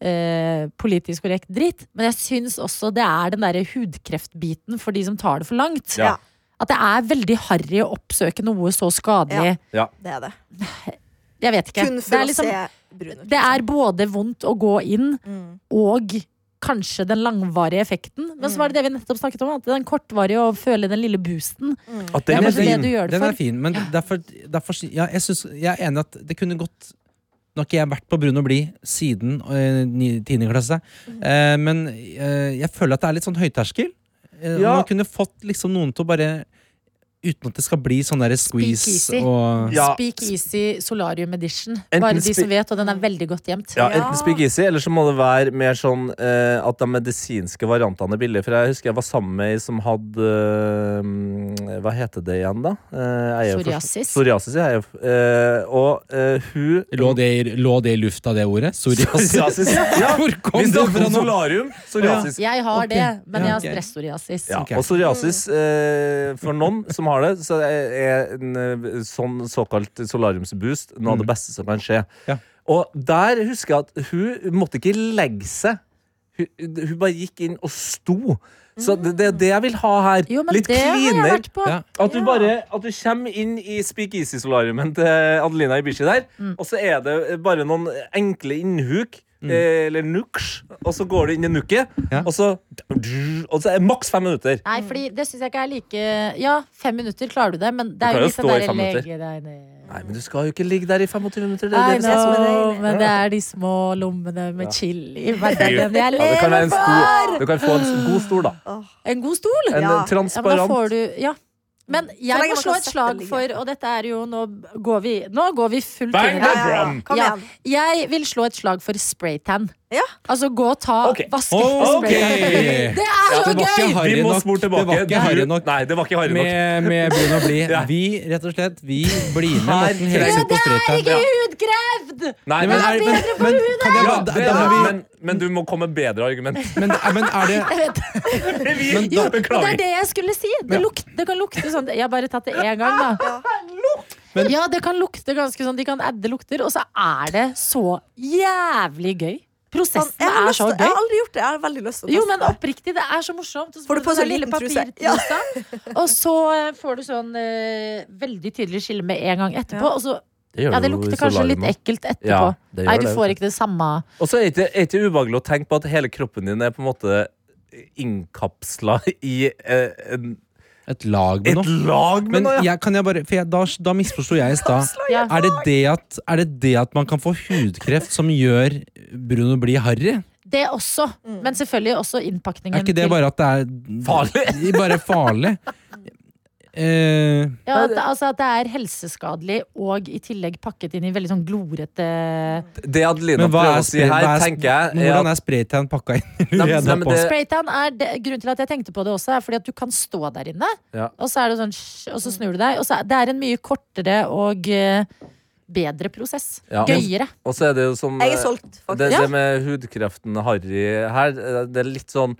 S2: eh, politisk korrekt dritt, men jeg syns også det er den derre hudkreftbiten for de som tar det for langt.
S3: Ja.
S2: At det er veldig harry å oppsøke noe så skadelig.
S5: Det er det.
S2: Jeg vet ikke.
S5: Kun
S2: det,
S5: for
S2: er liksom,
S5: å se liksom. brun ut.
S2: det er både vondt å gå inn
S5: Mm.
S2: og kanskje den langvarige effekten. Men så var det det vi nettopp snakket om, at den kortvarige å føle den lille boosten.
S3: At
S2: Ja,
S3: den
S2: men
S3: er
S2: det-
S3: fin.
S2: du gjør det
S4: den
S2: for.
S4: er fin, men derfor, derfor ja, jeg, synes, jeg er enig at det kunne gått Nå har ikke jeg vært på Brun og blid siden eh, ni- 10. klasse, eh, men eh, jeg føler at det er litt sånn høyterskel. Eh,
S3: Ja.
S4: Man kunne fått liksom noen til å bare Uten at det skal bli sånn derre squeeze
S2: easy.
S4: og
S3: Ja.
S2: Speak Easy Solarium Edition.
S3: Enten
S2: Bare de
S3: spe-
S2: som vet, og den er veldig godt gjemt.
S3: Ja,
S5: Ja.
S3: Enten speakeasy, eller så må det være mer sånn eh, at de medisinske variantene er billige. For jeg husker jeg var sammen med ei som hadde eh, mm, Hva heter det igjen, da? Eh, jeg er jo for-
S2: Psoriasis.
S3: Psoriasis, ja. jeg er jo f- eh, og eh, hun
S4: lå det, i, lå det i lufta, det ordet? Psoriasis?
S3: Psoriasis. Ja,
S4: Hvor kom
S3: vi
S4: det
S3: snakker
S4: fra
S3: om
S4: nå?
S3: solarium. Psoriasis.
S2: Jeg har
S4: Ok.
S2: det, men
S4: Ja,
S2: jeg har
S4: ok.
S2: stressoriasis.
S3: Ja,
S4: Ok.
S3: Og psoriasis eh, for noen som har det, så er en eh, sånn såkalt solariumsboost noe av det beste som kan skje.
S4: Mm. Ja.
S3: Og der husker jeg at hun måtte ikke legge seg. Hun, hun bare gikk inn og sto. Så det det er det jeg vil ha her.
S2: Jo, men
S3: Litt
S2: det har jeg
S3: cleaner.
S2: vært på.
S4: Ja.
S3: At du
S2: Ja.
S3: bare at du kommer inn i Speak Easy-solariumen til Adelina Ibishi der,
S2: Mm.
S3: og så er det bare noen enkle innhuk. eh, Eller nuks, og så går du inn i nukket,
S4: Mm. Ja.
S3: og så Og så er det maks fem minutter.
S2: Nei, fordi det syns jeg ikke er like Ja, fem minutter klatter du det, men det
S3: Du
S2: er
S3: klarer å
S2: jo litt sånn
S3: stå i
S2: den derre
S3: fem minutter.
S2: legge deg ned
S3: Nei, men du skal jo ikke ligge der i 25 minutter. Det,
S2: I
S3: er det, vi skal-
S2: know, men det er de små lommene med chili i hverdagen jeg
S3: ja, det kan være
S2: lever
S3: en
S2: for!
S3: stor, du kan få en s- god stol, da.
S2: En god stol!
S3: En eh,
S5: Ja.
S2: Ja, men da får
S3: transparent.
S2: du Ja. Men jeg
S5: lenge
S2: må
S5: man
S2: slå
S5: kan
S2: et
S5: sette
S2: slag
S5: ligge.
S2: for, og dette er jo Nå går vi, nå går vi fullt
S3: Bang
S2: inn i
S5: Ja,
S2: det.
S5: ja, ja. Kom
S2: Ja.
S5: igjen.
S2: Jeg vil slå et slag for spraytan.
S5: Ja.
S2: Altså gå og ta
S3: Ok.
S2: vaske
S4: Ok.
S2: spraytan. Det er så
S4: det var ikke
S2: gøy!
S4: harry
S3: Vi må
S4: nok.
S3: spore
S4: Det var
S3: tilbake.
S4: ikke harry nok.
S3: Nei, det var ikke harry nok.
S4: Med, med Brun og blid.
S3: Ja.
S4: Vi, rett og slett, vi blir med
S3: Her
S4: Morten
S3: trenger-
S4: Helseth på spraytan.
S2: Ikke hudkrevd!
S3: Nei,
S4: Nei,
S3: men,
S4: er- men, men, kan jeg
S3: ja,
S4: bare-
S3: det
S4: da-
S3: er,
S4: da må
S3: det,
S4: vi-
S3: men, men du må komme med bedre argument.
S4: men, men er det
S2: Jeg vet.
S3: Vi
S2: Jo, men det er
S3: beklager.
S2: det jeg skulle si. Det, luk, det kan lukte sånn Jeg har bare tatt det én gang, da.
S4: Men-
S2: ja, det kan lukte ganske sånn De kan adde lukter, og så er det så jævlig gøy.
S5: Sånn, jeg,
S2: Prosessen
S5: har
S2: er
S5: lyst,
S2: så
S5: til-
S2: gøy.
S5: jeg har aldri gjort det. Jeg har veldig lyst til å
S2: Jo, men
S5: teste.
S2: oppriktig, det er så morsomt. Og så
S5: Får du på
S2: den
S5: sånn
S2: lille
S5: liten truse?
S2: papirtrusa, Og så eh, får du sånn eh, veldig tydelig skille med en gang etterpå.
S5: Ja.
S2: Og så, ja, det lukter kanskje litt ekkelt etterpå.
S3: Ja, det gjør
S2: Nei, du
S3: det, vet
S2: får ikke det samme.
S3: Og så er det ikke- er det ikke ubehagelig å tenke på at hele kroppen din er på en måte innkapsla i eh, en,
S4: et lag med
S3: et
S4: noe?
S3: lag med
S4: Men
S3: noe. ja.
S4: jeg, kan jeg bare, for jeg, da, da misforsto jeg i stad.
S2: Ja.
S4: Er det det, at, er det det at man kan få hudkreft som gjør Bruno bli harry?
S2: Det også, men selvfølgelig også innpakningen.
S4: Er ikke det
S2: til-
S4: bare at det er
S3: Farlig?
S4: Bare farlig? Eh,
S2: ja, at, det- altså at det er helseskadelig, og i tillegg pakket inn i veldig sånn glorete
S3: Det Adelina
S4: men hva
S3: prøver
S4: er,
S3: å si
S4: spray,
S3: her,
S4: hva er,
S3: tenker jeg
S4: men
S3: er
S4: hvordan
S3: at,
S4: er spraytan pakka inn?
S3: Nei, men-
S4: Reda
S3: nei, men
S4: på.
S3: det-
S2: Spraytan er det, Grunnen til at jeg tenkte på det også, er fordi at du kan stå der inne,
S3: Ja.
S2: og så er det sånn sj, Og så snur du deg. Og så er, det er en mye kortere og eh, bedre prosess.
S3: Ja.
S2: Gøyere.
S3: Og så er det jo som eh,
S5: Jeg er solgt,
S3: Det,
S5: faktisk.
S3: det med hudkreften Harry her, eh, det er litt sånn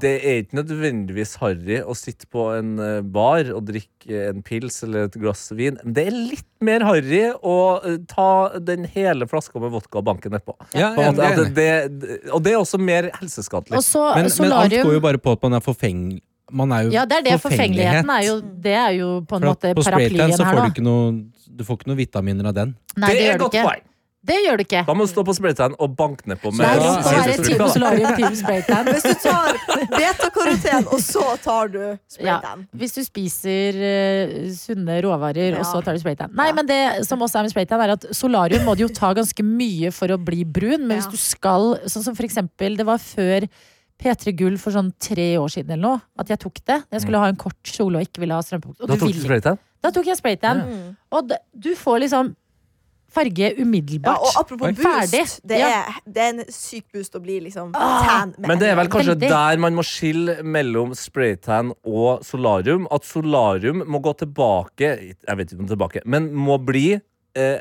S3: Det er ikke nødvendigvis harry å sitte på en eh, bar og drikke eh, en pils eller et glass vin. Men det er litt mer harry å eh, ta den hele flaska med vodka og banken nedpå.
S4: Ja,
S3: På en måte,
S4: jeg er
S3: at
S4: enig.
S3: det, det, og det er også mer helseskadelig.
S2: Og så
S4: Men, men alt
S2: solarium
S4: går jo bare på at man er forfengelig. Man er jo
S2: Ja, det er det. Forfengeligheten er
S4: forfengelighet.
S2: jo Det er jo på en
S4: For at
S2: måte
S4: på
S2: paraplyen
S4: spraytan så
S2: her,
S4: får
S2: da.
S4: du ikke noe Du får ikke noe vitaminer av den.
S2: Nei, det,
S3: det
S2: gjør
S3: er
S2: du
S3: godt
S2: ikke.
S3: poeng!
S2: Det gjør du ikke.
S3: Da må du stå på spraytan og banke nedpå med
S2: Nei,
S4: Ja,
S2: du
S4: det
S2: skal
S4: er
S2: være
S4: helt
S2: Team
S4: utrolig.
S2: Solarium, Team Spraytan.
S5: Hvis du tar betakaroten, og så tar du spraytan.
S2: Hvis du spiser eh, sunne råvarer,
S5: Ja.
S2: og så tar du spraytan. Nei,
S5: Ja.
S2: men det som også er med spraytan, er at solarium må du jo ta ganske mye for å bli brun. Men hvis
S5: Ja.
S2: du skal, sånn som for eksempel, det var før P3 Gull for sånn tre år siden eller noe, at jeg tok det. Jeg skulle ha en kort kjole og ikke ville ha strømpebukse. Og
S3: Da
S2: du
S3: tok du
S2: vil ikke.
S3: spraytan?
S2: Da tok jeg spraytan. Og d- du får liksom farge
S5: Ja,
S2: umiddelbart.
S5: og apropos
S4: Oi.
S5: boost,
S2: Ferdig.
S5: det
S2: Ja. Ah.
S5: er, det er en syk boost å bli liksom tan. med
S3: Men det er vel
S5: en gang.
S3: kanskje
S2: Veldig.
S3: der man må skille mellom spraytan og solarium. At solarium må gå tilbake Jeg vet ikke om tilbake, men må bli eh,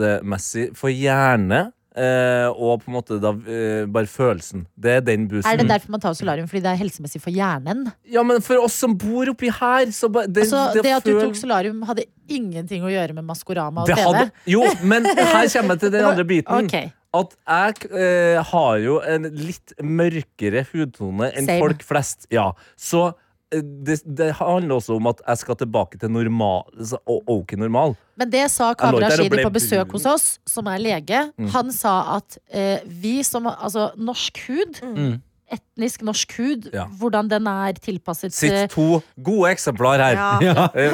S3: helsemessig for hjerne. Eh, og på en måte da eh, bare følelsen. Det er den boosten.
S2: er det derfor man tar solarium? Fordi det er helsemessig for hjernen?
S3: Ja, men for oss som bor oppi her, så bare det,
S2: Altså,
S3: det
S2: det at du
S3: føl-
S2: tok solarium, hadde ingenting å gjøre med Maskorama og
S3: det
S2: TV?
S3: hadde, Mm. Jo, men her kommer jeg til den andre biten.
S2: Ok.
S3: At jeg eh, har jo en litt mørkere hudtone enn
S2: Same.
S3: folk flest. Ja, Så eh, det, det handler også om at jeg skal tilbake til normal. så- o- OK normal.
S2: Men det sa
S3: Jeg lå
S2: Kamra
S3: ikke der og
S2: Rashidi
S3: ble
S2: på
S3: brun.
S2: besøk
S3: Mm.
S2: hos oss, som er lege. Han sa at eh, vi som Altså, norsk hud
S4: Mm.
S2: Etnisk norsk hud,
S3: Ja.
S2: hvordan den er tilpasset eh,
S3: Sitt to gode eksemplar her.
S5: Ja.
S3: Eh,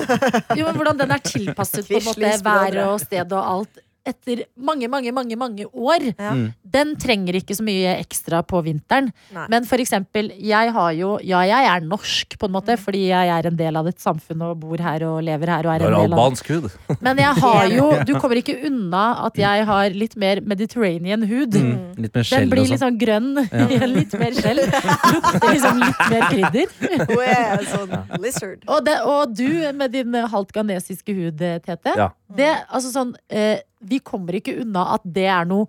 S2: Jo, men hvordan den er tilpasset på en måte
S5: Quisling,
S2: været
S5: brødre.
S2: og stedet og alt etter mange, mange, mange mange år.
S5: Ja.
S4: Mm.
S2: Den trenger ikke så mye ekstra på vinteren.
S5: Nei.
S2: Men for eksempel, jeg har jo Ja, jeg er norsk, på en måte,
S5: Mm.
S2: fordi jeg er en del av et samfunn og bor her og lever her og
S3: Du
S2: er
S3: har
S2: en del av
S3: albansk hud.
S2: Men jeg har jo Du kommer ikke unna at jeg har litt mer Mediterranean hud.
S4: Mm. Litt
S2: Den
S4: mer skjell
S2: blir
S4: og
S2: litt
S4: sånn.
S2: sånn grønn. litt mer skjell. Lukter liksom litt mer krydder.
S5: Hun er sånn lizard.
S2: Og, det, og du med din eh, halvt ghanesiske hud, eh, Tete.
S3: Ja.
S2: Det, altså sånn, eh, vi kommer ikke unna at det er noe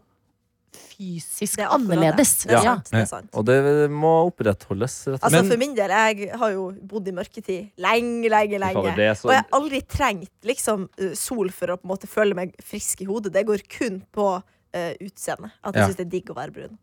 S2: fysisk
S5: Det er akkurat
S2: annerledes.
S5: Det er
S2: Ja.
S5: sant. Det er sant.
S3: Og det må opprettholdes. Rett og slett.
S5: Altså
S4: Men-
S5: For min del, jeg har jo bodd i mørketid lenge, lenge, lenge.
S3: Fader, det er så-
S5: Og jeg har aldri trengt liksom, eh, sol for å på en måte føle meg frisk i hodet. Det går kun på eh, utseendet. At jeg
S4: Ja.
S5: synes syns det er digg å være brun.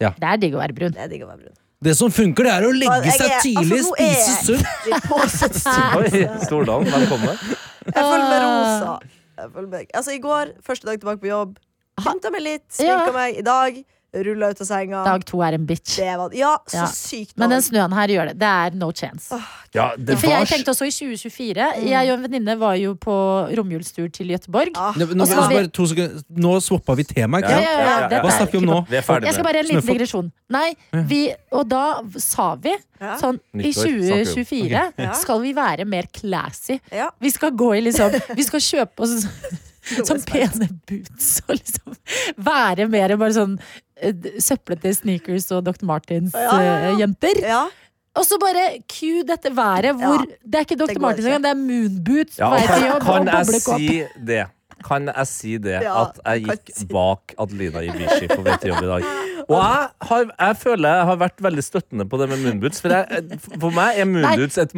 S2: Det er digg å være brun.
S5: Det er digg å være brun.
S4: Det som funker, det er å legge
S5: Jeg
S4: seg
S5: er-
S4: tidlig,
S5: altså, nå er
S4: spise
S5: jeg-
S4: sunt.
S5: Litt påsatt
S2: Hæ?
S3: Oi, Stordalen, velkommen.
S5: Jeg følger med rosa. Jeg følger med. Altså, I går, første dag tilbake på jobb, pynta meg litt, sminka
S2: Ja.
S5: meg. I dag, rulla ut av senga.
S2: Dag to er en bitch.
S5: Det var, ja, så
S2: Ja.
S5: sykt.
S2: Men den
S5: dag.
S2: snøen her gjør det. Det er no chance.
S3: Ja, det
S2: For
S3: var
S2: jeg tenkte også i 2024 Jeg og en venninne var jo på romjulstur til Gøteborg.
S5: Ah,
S4: Nå, nå,
S2: Og så har vi-
S4: bare to sekunder. nå swappa vi tema, ikke
S2: Altså, Ja,
S4: sant?
S2: ja, ja, dette
S4: Hva
S2: er
S4: snakker vi om nå?
S3: Vi er ferdig
S2: Jeg skal
S3: med det.
S2: bare ha en liten
S4: Snøfall.
S2: digresjon. Nei, vi, og da sa vi
S5: Ja.
S2: sånn I
S3: Nyttår snakker vi om.
S2: 2024
S5: Ja.
S2: skal vi være mer classy.
S5: Ja.
S2: Vi skal gå i liksom Vi skal kjøpe oss sånn
S5: respekt.
S2: pene boots og liksom være mer bare sånn eh, søplete sneakers og Dr. eh,
S5: Ja, ja, ja.
S2: Martins-jenter.
S5: ja.
S2: Og så bare cue dette været hvor
S5: Ja.
S2: Det er ikke
S5: Det
S2: Dr.
S5: går
S2: Martins
S5: ikke.
S2: engang, det er moonboots
S3: Ja,
S2: på vei til
S3: kan,
S2: jobb og
S3: kan jeg
S2: boblekåpe.
S3: si det? Kan jeg si det?
S5: Ja,
S3: at jeg
S5: kan
S3: gikk
S5: si det.
S3: bak Adelina Ibishi på vei til jobb i dag. Og jeg, har, jeg føler jeg har vært veldig støttende på det med moonboots. For, jeg, eh, for meg er moonboots et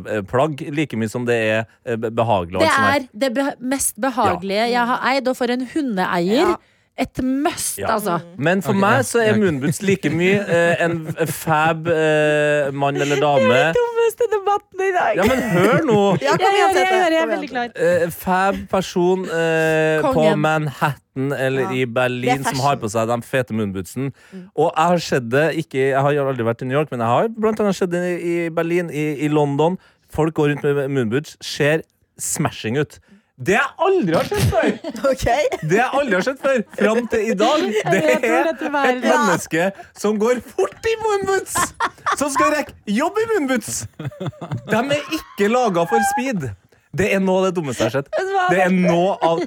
S3: moteplagg like mye som det er eh, be- behagelig. og
S2: Det
S3: alt sånt her.
S2: er det beha- mest behagelige jeg har eid, og for en hundeeier.
S5: Ja.
S2: Et must,
S3: Ja.
S2: altså.
S3: Men for
S4: Ok, ja.
S3: meg så
S4: Ja,
S3: er
S4: ok.
S3: moonboots like mye eh, en fab eh, mann eller dame.
S2: Dummeste debatten i dag.
S3: Ja, men hør nå!
S5: ja, kom
S2: Jeg,
S5: igjen,
S2: gjør det, jeg,
S5: Tete.
S2: gjør det, jeg
S5: Kom
S2: er veldig
S5: igjen.
S2: klar.
S3: eh, fab person eh, på
S2: Kongen.
S3: Manhattan eller
S5: Ja.
S3: i
S5: Det er
S3: Berlin som
S5: fashion.
S3: har på seg de fete munnbudsene. Og jeg har sett det ikke, Jeg har aldri vært i New York, men jeg har blant annet sett det i i Berlin, i, i London. Folk går rundt med munnbuds, ser smashing ut. Det jeg aldri har sett før!
S5: Ok.
S3: Det jeg aldri har sett før Fram til i dag Det
S2: Jeg tror
S3: er
S2: dette var-
S3: et menneske som går fort i moonboots Som skal rekke jobb i moonboots De er ikke laget for speed Det er noe av det dummeste jeg har sett Det er noe av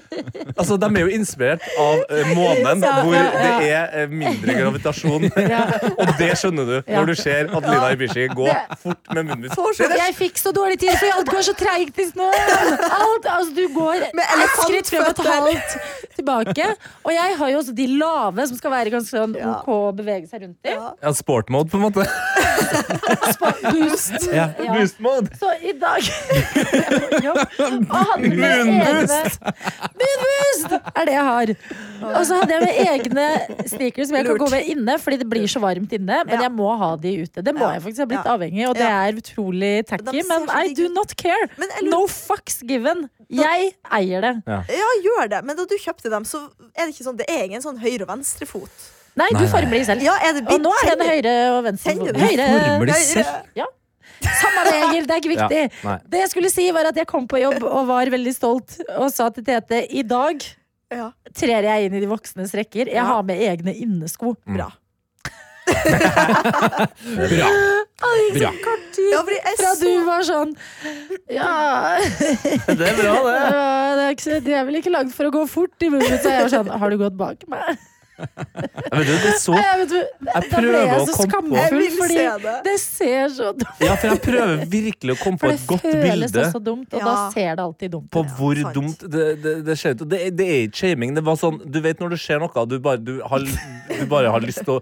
S3: Altså, de er jo inspirert av eh, månen
S2: Ja,
S3: Hvor
S2: ja, ja.
S3: det er eh, mindre gravitasjon
S2: Ja.
S3: Og det skjønner du
S2: Ja.
S3: Når du ser Adelina Ibishi gå fort med moonboots Det er
S2: Jeg fikk så dårlig tid, for alt går så treigt i snøen! Alt, altså, du går ett skritt frem og et halvt tilbake. Og jeg har jo også de lave, som skal være ganske sånn
S5: Ja.
S2: OK å bevege seg rundt i.
S5: Ja.
S3: ja, sport mode på en måte
S2: Sport boost.
S4: Ja.
S2: Ja.
S3: Boost mode
S2: Så i dag Jeg må på jobb. Og hadde med
S3: Moonboost!
S2: egne Moonboost er det jeg har. Og så hadde jeg med egne sneakers som jeg kan
S5: Lurt.
S2: gå med inne, fordi det blir så varmt inne. Men
S5: Ja.
S2: jeg må ha de ute. Det må
S5: Ja.
S2: jeg faktisk ha blitt
S5: Ja.
S2: avhengig, og det
S5: Ja.
S2: er utrolig tacky.
S5: De ser
S2: Men
S5: så
S2: I
S5: digg
S2: do
S5: ut.
S2: not care.
S5: Men jeg lurer-
S2: No fucks given. Jeg eier det.
S5: Ja, gjør det. Men da du kjøpte dem, så er det ikke sånn Det er ingen sånn høyre- og venstrefot.
S2: Nei, du former de selv.
S5: Ja, er det
S2: Og nå er den
S5: Kjenner-
S2: høyre og venstre.
S5: Kjenner du-
S2: Høyre,
S4: Former de
S5: Høyre.
S4: selv?
S2: Samme det, Egil. Det er ikke
S3: Ja,
S2: viktig.
S3: nei.
S2: Det jeg skulle si, var at jeg kom på jobb og var veldig stolt og sa til Tete i dag
S5: Ja,
S2: trer jeg inn i de voksnes rekker. Jeg
S5: Ja.
S2: har med egne innesko.
S3: Mm.
S5: bra.
S4: Bra. Bra.
S5: Ja, fordi jeg
S2: Fra du
S5: så
S2: var sånn Ja,
S3: Det er bra, det.
S2: øh, det er, ikke, så- de er vel ikke lagd for å gå fort i munnen, så jeg var sånn Har du gått bak meg?
S3: Jeg vet, du, det er så,
S2: Jeg vet, du, da ble
S3: prøver
S2: jeg
S3: å
S2: så
S3: komme på-
S5: Jeg
S2: skamfull,
S5: vil
S2: fordi
S5: se det.
S2: det ser så dumt
S3: ja, for jeg prøver virkelig å komme på
S2: For det
S3: et godt
S2: føles
S3: bilde
S2: også dumt, og
S5: Ja.
S2: da ser det alltid dumt
S3: på
S2: ut.
S3: hvor
S5: sant.
S3: dumt det, det, det ser ut. Og Det, er- det er ikke shaming. Det var sånn, du vet når det skjer noe, du bare, du har, du bare har lyst til å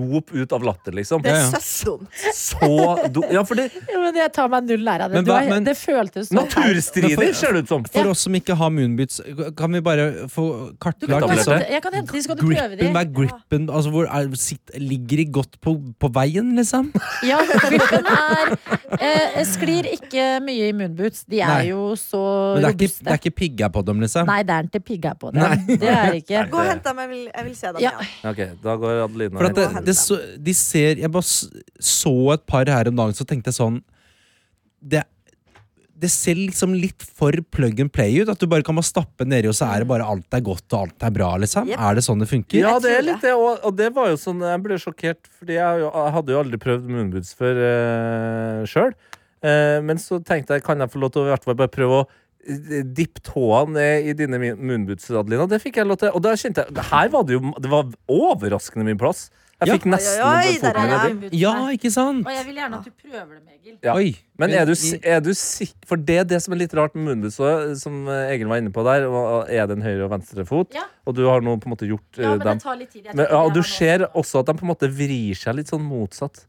S3: rope ut av latter, liksom.
S5: Det er
S4: Ja, ja.
S5: søssdumt.
S3: Så dumt. Ja, for det
S2: Ja, Men jeg tar meg null lære av det.
S4: Men
S2: Du
S4: hva-
S2: er-
S4: men-
S2: Det føltes så
S3: Naturstridig, ser det ut som.
S4: For oss som ikke har moonboots, kan vi bare få kartlagt
S3: tabletter.
S4: liksom,
S2: Jeg kan hente de, så kan du prøve
S4: grippen? Hva
S2: de.
S4: er grippen? Altså, hvor er, sitt, ligger de godt på, på veien, liksom?
S2: Ja, gruppen er eh, Sklir ikke mye i moonboots. De er
S4: Nei.
S2: jo så
S4: Men det er ikke,
S2: robuste.
S4: det er ikke pigga på dem, liksom?
S2: Nei, det er ikke pigga på det.
S4: Nei.
S2: Det er ikke.
S5: Gå og hent dem. Jeg vil, jeg vil se dem
S2: Ja.
S5: igjen.
S3: Ok, da går Adelina
S4: For at
S3: helt-
S4: det, det så, de ser Jeg bare s- så et par her om dagen, så tenkte jeg sånn Det, det ser liksom litt for plug and play ut. At du bare kan bare stappe nedi, og så er det bare alt er godt og alt er bra. liksom
S5: Yep.
S4: Er det sånn det funker?
S3: Ja, det er
S5: tror
S3: litt det. Og, og det var jo sånn, jeg ble sjokkert, Fordi jeg, har jo- jeg hadde jo aldri prøvd munnbuds før uh, sjøl. men så tenkte jeg, kan jeg få lov til å i hvert fall bare prøve å eh, dippe tåa ned i dine min- moonboots, Adelina. Det fikk jeg lov til. Og da kjente jeg Her var det jo Det var overraskende mye plass. Jeg
S4: Ja.
S3: fikk nesten
S5: Oi, oi, oi, der
S3: foten
S5: er
S3: nedi.
S5: jeg.
S4: Ja, ikke sant?
S2: Og jeg vil gjerne at du prøver dem, Egil.
S3: Ja.
S4: Oi.
S3: Men er du, si- er du sikker For det er det som er litt rart med Moonboots, også, som eh, Egil var inne på der. og- og Er det en høyre og venstre fot?
S2: Ja.
S3: Og du har nå på en måte gjort eh, dem
S2: tar litt tid.
S3: men, ja, og Du ser også at de på en måte vrir seg litt sånn motsatt.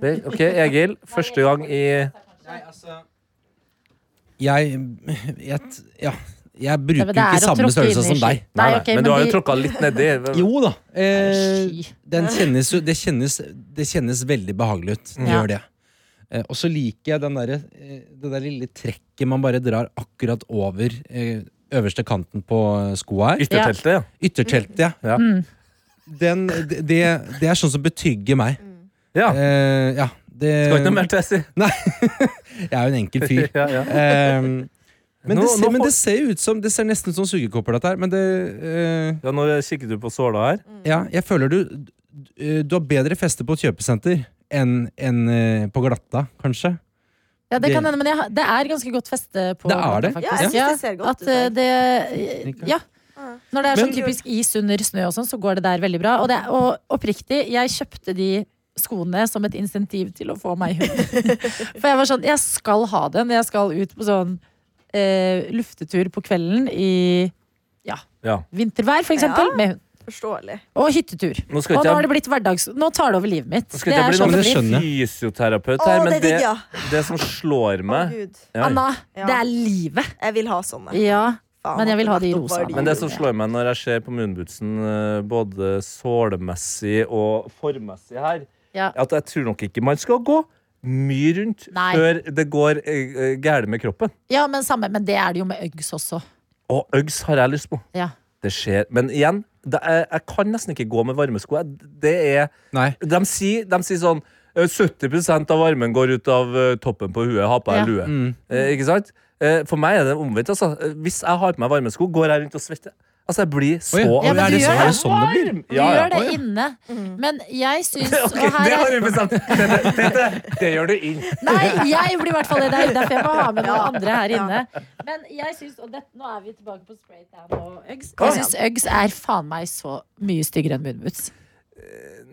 S3: Det, ok, Egil. Første gang i
S4: Jeg, jeg t- Ja. Jeg bruker
S2: men
S4: jo
S2: det er
S4: ikke
S2: å
S4: samme
S2: tråkke
S4: størrelse
S2: inn i
S4: som deg.
S2: ski. Nei, ok,
S3: men,
S2: men
S3: du har
S2: de-
S3: jo tråkka litt nedi.
S4: Jo da. Eh,
S2: Ski.
S4: den kjennes jo det kjennes, det kjennes veldig behagelig ut. Det
S2: Ja.
S4: gjør det. Eh, og så liker jeg den derre, eh, det der lille trekket man bare drar akkurat over eh, øverste kanten på eh, skoa her.
S3: Ytterteltet, ja.
S4: Ytterteltet,
S3: Ja.
S4: Den, det, det- det er sånn som betygger meg.
S3: ja.
S4: Eh, ja. Det,
S3: Skal ikke noe mer til, jeg sier.
S4: Jeg er jo en enkel fyr.
S3: Ja, ja.
S4: Eh, men,
S3: Nå-
S4: det ser,
S3: nå
S4: men
S3: får-
S4: det ser ut som Det ser nesten ut som sugekopper, dette her. Men det eh,
S3: ja, nå kikker du på såla her.
S4: Ja, jeg føler du eh, Du du har bedre feste på et kjøpesenter enn enn, eh, på glatta, kanskje.
S2: Ja, det kan hende, men jeg, har- det er ganske godt feste på
S4: Det er det.
S5: Ja, jeg
S2: faktisk.
S5: synes det ser godt
S2: at
S5: ut her.
S2: eh, det Ja. Når det er sånn
S4: Men-
S2: typisk is under snø og sånn, så går det der veldig bra. Og, det, er- og oppriktig, jeg kjøpte de skoene som et insentiv til å få meg hund. For jeg var sånn, jeg skal ha den. Jeg skal ut på sånn eh, luftetur på kvelden i ja,
S3: Ja.
S2: vintervær, for eksempel,
S5: Ja.
S2: med hund.
S5: Forståelig.
S2: Og hyttetur.
S3: Nå skal ikke
S2: og nå
S3: jeg-
S2: har det blitt hverdags... Nå tar det over livet mitt.
S3: Nå
S2: Det
S3: skal ikke
S2: er
S3: jeg
S2: sånn
S4: Men
S2: det
S4: det
S2: blir.
S4: skjønner
S3: bli
S4: jeg.
S3: fysioterapeut
S5: Å,
S3: her,
S5: det
S3: men
S5: er
S3: det,
S5: digg, ja.
S3: det som slår
S5: Å,
S3: meg
S5: Gud.
S3: Ja, ja.
S2: Anna,
S5: Ja.
S2: det er livet.
S5: Jeg vil ha sånne.
S2: Ja.
S5: Faen,
S2: Men jeg vil ha de
S5: nettopp var
S2: rosa.
S3: Men det som slår meg når jeg ser på Moonbootsen, eh, både sålemessig og formmessig her,
S2: Ja.
S3: er at jeg tror nok ikke man skal gå mye rundt
S2: Nei.
S3: før det går uh, gærent med kroppen.
S2: ja, men samme. Men det er det jo med Uggs også.
S3: Og Uggs har jeg lyst på.
S2: Ja.
S3: Det skjer. Men igjen, det er, jeg kan nesten ikke gå med varmesko. Jeg- Det er
S4: Nei.
S3: De sier, de sier sånn eh, 70 av varmen går ut av eh, toppen på huet. Ha på deg
S2: Ja.
S3: lue. Eh, ikke sant? Eh, for meg er det omvendt. Altså. Eh, Hvis jeg har på meg varmesko, går jeg rundt og svetter. Altså, jeg blir så
S4: Oi, ja,
S2: men du
S4: er det,
S2: gjør
S4: så, er det
S2: det.
S4: sånn det blir?
S3: varm!
S2: Du
S3: Ja, ja.
S2: gjør det inne.
S5: Mm.
S2: Men jeg syns
S3: Ok,
S2: og her
S3: det har
S2: er,
S3: vi bestemt. Dette, dette, det gjør du inn.
S2: Nei, jeg blir i hvert fall det. Det er derfor jeg må ha med noen
S5: Ja.
S2: andre her
S5: Ja.
S2: inne. Men jeg syns Og det, nå er vi tilbake på spray tan og Uggs.
S5: Kom
S2: Jeg syns Uggs er faen meg så mye styggere enn Moonboots.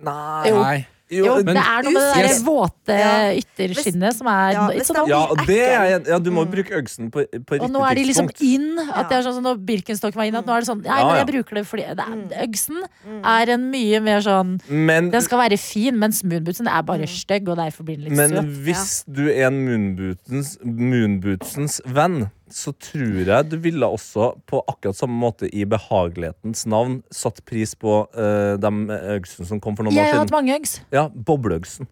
S3: Nei.
S2: Jo.
S4: Nei.
S2: Jo,
S4: men-
S2: det er noe med det
S4: Yes.
S2: der våte
S5: Ja.
S2: ytterskinnet som er
S5: Ja,
S2: it's
S5: hvis
S2: an
S5: det er
S3: Ja, og det er, en- ja, du må bruke øksen på, på riktig
S2: Og nå er de liksom
S3: tidspunkt.
S2: in. At det
S5: Ja.
S2: er sånn som når Birkenstock var in. At nå er det sånn, nei,
S3: Ja,
S2: men
S3: ja.
S2: jeg bruker det fordi det
S5: Mm.
S2: er, Øgsen er en mye mer sånn
S3: Men,
S2: Den skal være fin, mens moonbootsen er bare
S5: Mm.
S2: stygg, og derfor blir den litt
S3: men
S2: søt.
S3: hvis du er en moonbootsens, moonbootsens venn, så tror jeg du ville også på akkurat samme måte i behagelighetens navn satt pris på uh, de øgsene som kom for noen
S2: Jeg har
S3: år
S2: hatt
S3: siden.
S2: mange øggs.
S3: Ja, Bobleøgsen.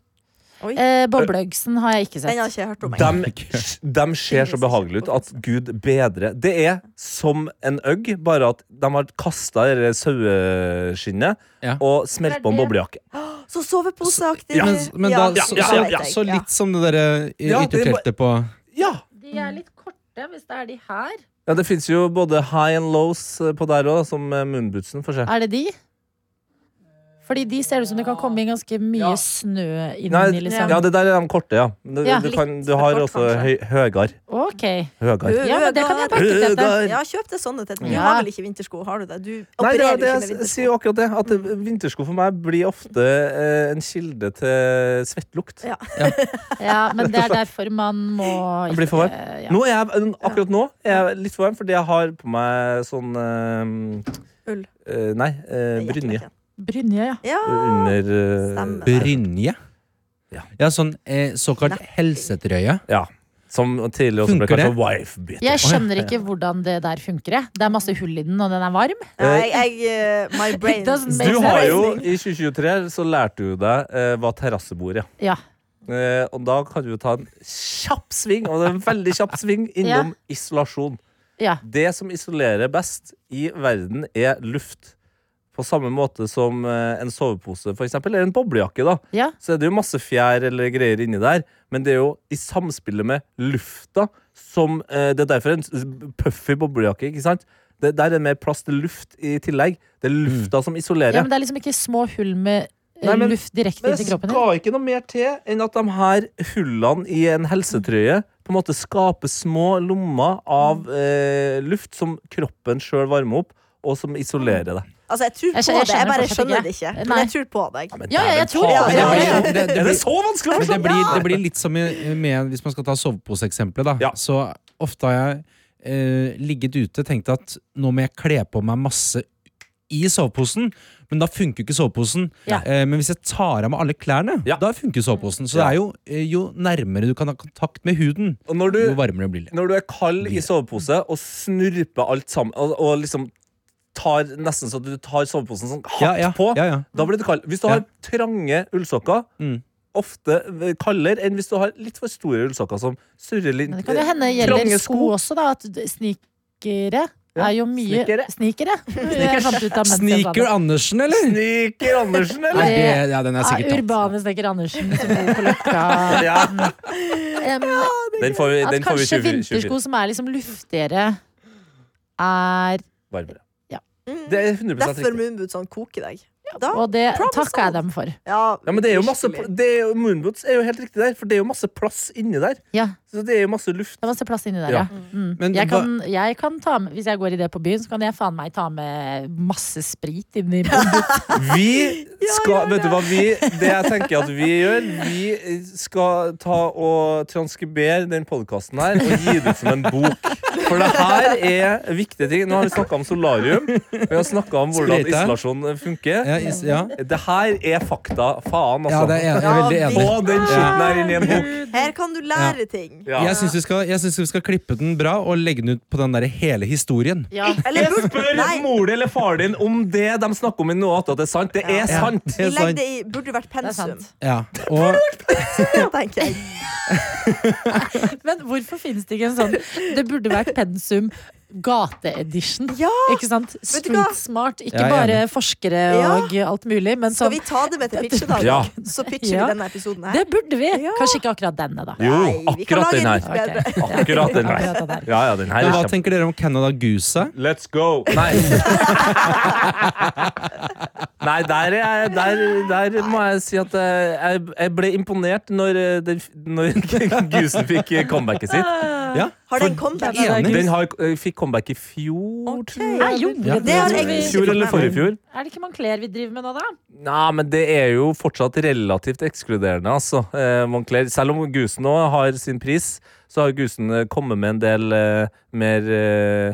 S5: Oi,
S2: Eh, Bobleøggsen har jeg ikke
S5: den har
S2: sett.
S5: ikke jeg hørt om. engang.
S3: De, de ser så behagelige ut at Gud bedre. Det er som en øgg, bare at de har kasta saueskinnet
S4: Ja.
S3: og smelt på en boblejakke.
S5: Så soveposeaktig.
S3: Ja,
S4: Men, men da,
S3: ja,
S4: så,
S3: ja,
S4: så,
S5: vet jeg.
S4: så litt som det derre i-
S3: Ja, det er bare-
S4: ytterteltet på
S3: Ja!
S2: De er litt korte, hvis det er de her.
S3: ja det fins jo både high and lows på der òg, som eh, Moonbootsen får se.
S2: Er det de? Fordi de ser ut som det kan komme inn ganske mye snø inn
S3: Nei,
S2: i, liksom.
S3: ja, det der er de korte, ja. Du,
S2: Ja.
S3: du, kan, du
S5: Litt
S3: har
S5: kort,
S3: også høy, høygar.
S2: Ok.
S3: Høygar.
S2: Ja, men det kan jeg pakke til dette.
S5: Ja, kjøp deg sånne til. Du
S2: Ja.
S5: har vel ikke vintersko, har du det? Du
S3: Nei, det,
S5: opererer
S3: det,
S5: ikke med
S3: jeg
S5: vintersko.
S3: sier jo akkurat det. At eh, vintersko for meg blir ofte eh, en kilde til svettlukt.
S5: Ja.
S2: Ja, men det er derfor man må
S3: Jeg blir for varm.
S2: ikke- ja.
S3: Nå er jeg, akkurat nå er jeg litt varm, fordi jeg har på meg sånn eh,
S5: Ull.
S3: eh, nei, eh, brynje
S5: Jakken.
S2: Brynje, ja.
S5: Ja.
S3: under
S5: Ah, Stemmer.
S3: eh,
S4: brynje.
S3: Ja.
S4: Ja, sånn eh, såkalt
S5: Nei.
S4: helsetrøye.
S3: Ja. Som tidligere også ble
S4: Funker
S3: kalt
S4: det?
S3: for wife beater.
S2: Jeg skjønner ikke hvordan det der funker. jeg. Det er masse hull i den, og den er varm.
S5: Nei, jeg, eh, My brain
S2: It doesn't make
S3: Du har jo,
S2: sense.
S3: I 2023 så lærte du deg eh, hva terrassebord er.
S2: Ja.
S3: Eh, og da kan du ta en kjapp sving, og det er en veldig kjapp sving, innom isolasjon.
S2: ja.
S3: Det som isolerer best i verden, er luft. På samme måte som eh, en sovepose, for eksempel, eller en boblejakke. da
S2: ja.
S3: så er det jo masse fjær eller greier inni der, men det er jo i samspillet med lufta som eh, Det er derfor en s- puffy boblejakke, ikke sant? Det, der er det mer plass til luft i tillegg. Det er lufta som isolerer.
S2: Ja, men det er liksom ikke små hull med eh,
S3: Nei, men-
S2: luft direkte
S3: men
S2: inn
S3: det
S2: til kroppen din.
S3: skal ikke noe mer til enn at de her hullene i en helsetrøye på en måte skaper små lommer av
S2: Mm.
S3: eh, luft som kroppen sjøl varmer opp, og som isolerer deg.
S5: Altså, jeg tror
S2: Jeg
S5: på
S2: skjønner- jeg
S5: det. Jeg
S2: skjønner
S5: bare
S2: fortsatt
S5: skjønner
S2: ikke.
S5: det ikke.
S2: Nei.
S5: Men jeg tror på deg.
S3: Men
S2: Ja, ja,
S3: dæven
S2: jeg tror
S3: ta-
S5: det.
S4: Men det
S5: Ja,
S4: blir
S5: ja, ja.
S4: sånn- det- det
S3: Er det
S4: blir-
S3: så vanskelig å
S4: Men
S3: forstå?
S4: det blir, det blir litt som i- med, hvis man skal ta soveposeeksempelet, da.
S3: Ja.
S4: Så ofte har jeg eh, ligget ute tenkte at nå må jeg kle på meg masse i soveposen, men da funker jo ikke soveposen.
S2: Ja.
S4: Eh, men hvis jeg tar av meg alle klærne,
S3: Ja.
S4: da funker soveposen. Så
S3: Ja.
S4: det er jo, eh, jo nærmere du kan ha kontakt med huden,
S3: Og når du,
S4: jo varmere blir det.
S3: Når du er kald i sovepose og snurper alt sammen Og, og liksom tar nesten så du tar soveposen sånn hardt
S4: Ja, ja,
S3: på,
S4: ja, ja.
S3: da blir du kald. Hvis du
S4: Ja.
S3: har trange ullsokker,
S4: Mm.
S3: ofte eh, kaldere enn hvis du har litt for store ullsokker som surrer litt
S2: Men det kan jo hende
S3: Trange
S2: gjelder
S3: sko.
S2: sko også, da. At d- snikere
S3: Ja,
S2: er jo mye
S3: snikere.
S2: Snikere. Jeg fant ut av mens jeg sa det.
S4: Sneaker Andersen, eller?
S3: Sniker Andersen, eller?
S4: Nei, det, ja, den er
S2: Av
S4: sikkert tatt.
S2: urbane snekker Andersen som bor på Løkka.
S3: Ja,
S2: Em,
S3: den får vi,
S2: at
S3: den får vi 20,
S2: kanskje vintersko som er liksom luftigere, er
S3: varmere.
S5: Mm.
S3: Det er 100
S5: Derfor
S3: riktig.
S5: Moonboot sånn koker deg. Da,
S2: Og det
S5: Promise
S2: takker jeg
S5: all.
S2: dem for.
S5: ja,
S3: Ja, men det er jo masse
S5: virkelig.
S3: det er jo, Moonboots er jo helt riktig der, for det er jo masse plass inni der.
S2: Ja,
S3: Så det er jo masse luft.
S2: det er masse plass inni der,
S3: Ja.
S2: ja. Mm.
S4: Men
S2: jeg,
S4: hva-
S2: kan, jeg kan ta med, Hvis jeg går i det på byen, så kan jeg faen meg ta med masse sprit inni bunnen.
S3: Vi skal Vet du hva vi Det jeg tenker at vi gjør Vi skal ta og transkribere den podkasten her og gi det ut som en bok. For det her er viktige ting. Nå har vi snakka om solarium. Vi har snakka om hvordan
S4: Sprøyte.
S3: isolasjon funker.
S4: Ja, is, ja.
S3: Det her er fakta. Faen,
S4: ja,
S3: altså.
S4: det er, jeg er veldig
S5: Ja,
S4: enig.
S3: Få den skitten her inn i en bok.
S5: Her kan du lære ting.
S3: Ja.
S4: Jeg syns vi, skal- jeg synes vi skal klippe den bra og legge den ut på den der hele historien.
S2: Ja.
S5: Eller burde,
S3: Spør
S5: nei,
S3: mor din eller far din om det de snakker om i noe annet, at det er sant. Det er
S4: Ja,
S3: sant.
S4: det
S5: vi
S4: er
S5: legger
S4: sant.
S5: det i Burde vært
S2: er
S5: pensum,
S2: sant.
S4: Ja. Og
S5: tenker jeg.
S2: Men hvorfor finnes det ikke en sånn Det burde vært pensum gateedition.
S5: Ja!
S2: Ikke sant?
S5: Vet du hva?
S2: Street smart. Ikke
S4: Jeg er
S2: bare forskere
S5: Ja.
S2: og alt mulig, men
S5: Skal
S2: sånn
S5: vi ta det med til pitchedag?
S3: Ja.
S5: Så pitcher
S2: Ja.
S5: vi denne episoden her.
S2: Det burde vi!
S5: Ja.
S2: Kanskje ikke akkurat denne, da.
S3: Jo,
S5: Nei, vi kan
S3: akkurat
S5: lage
S3: den her.
S5: en litt bedre.
S3: Akkurat den her.
S2: Akkurat den her.
S3: Ja, ja, den her er
S4: Men hva
S3: kjempe-
S4: tenker dere om Canada Goose?
S3: Let's go! Nei. Nei, der, er jeg, der, der må jeg si at eh, jeg, jeg ble imponert når, eh, den, når Gusen fikk eh, comebacket sitt.
S4: Ja.
S5: Har den comeback?
S4: Ja,
S2: Enig.
S3: Den har, eh, fikk comeback i fjor, tror jeg.
S2: Nei, gjorde
S4: Ja.
S2: det,
S5: Det har jeg
S2: Vi-
S5: ikke-
S3: Fjor eller forrige fjor?
S2: Er det ikke Moncler vi driver med nå, da?
S3: Nei, men det er jo fortsatt relativt ekskluderende, altså. Eh, Moncler. Selv om Gusen nå har sin pris, så har Gusen eh, kommet med en del eh, mer eh,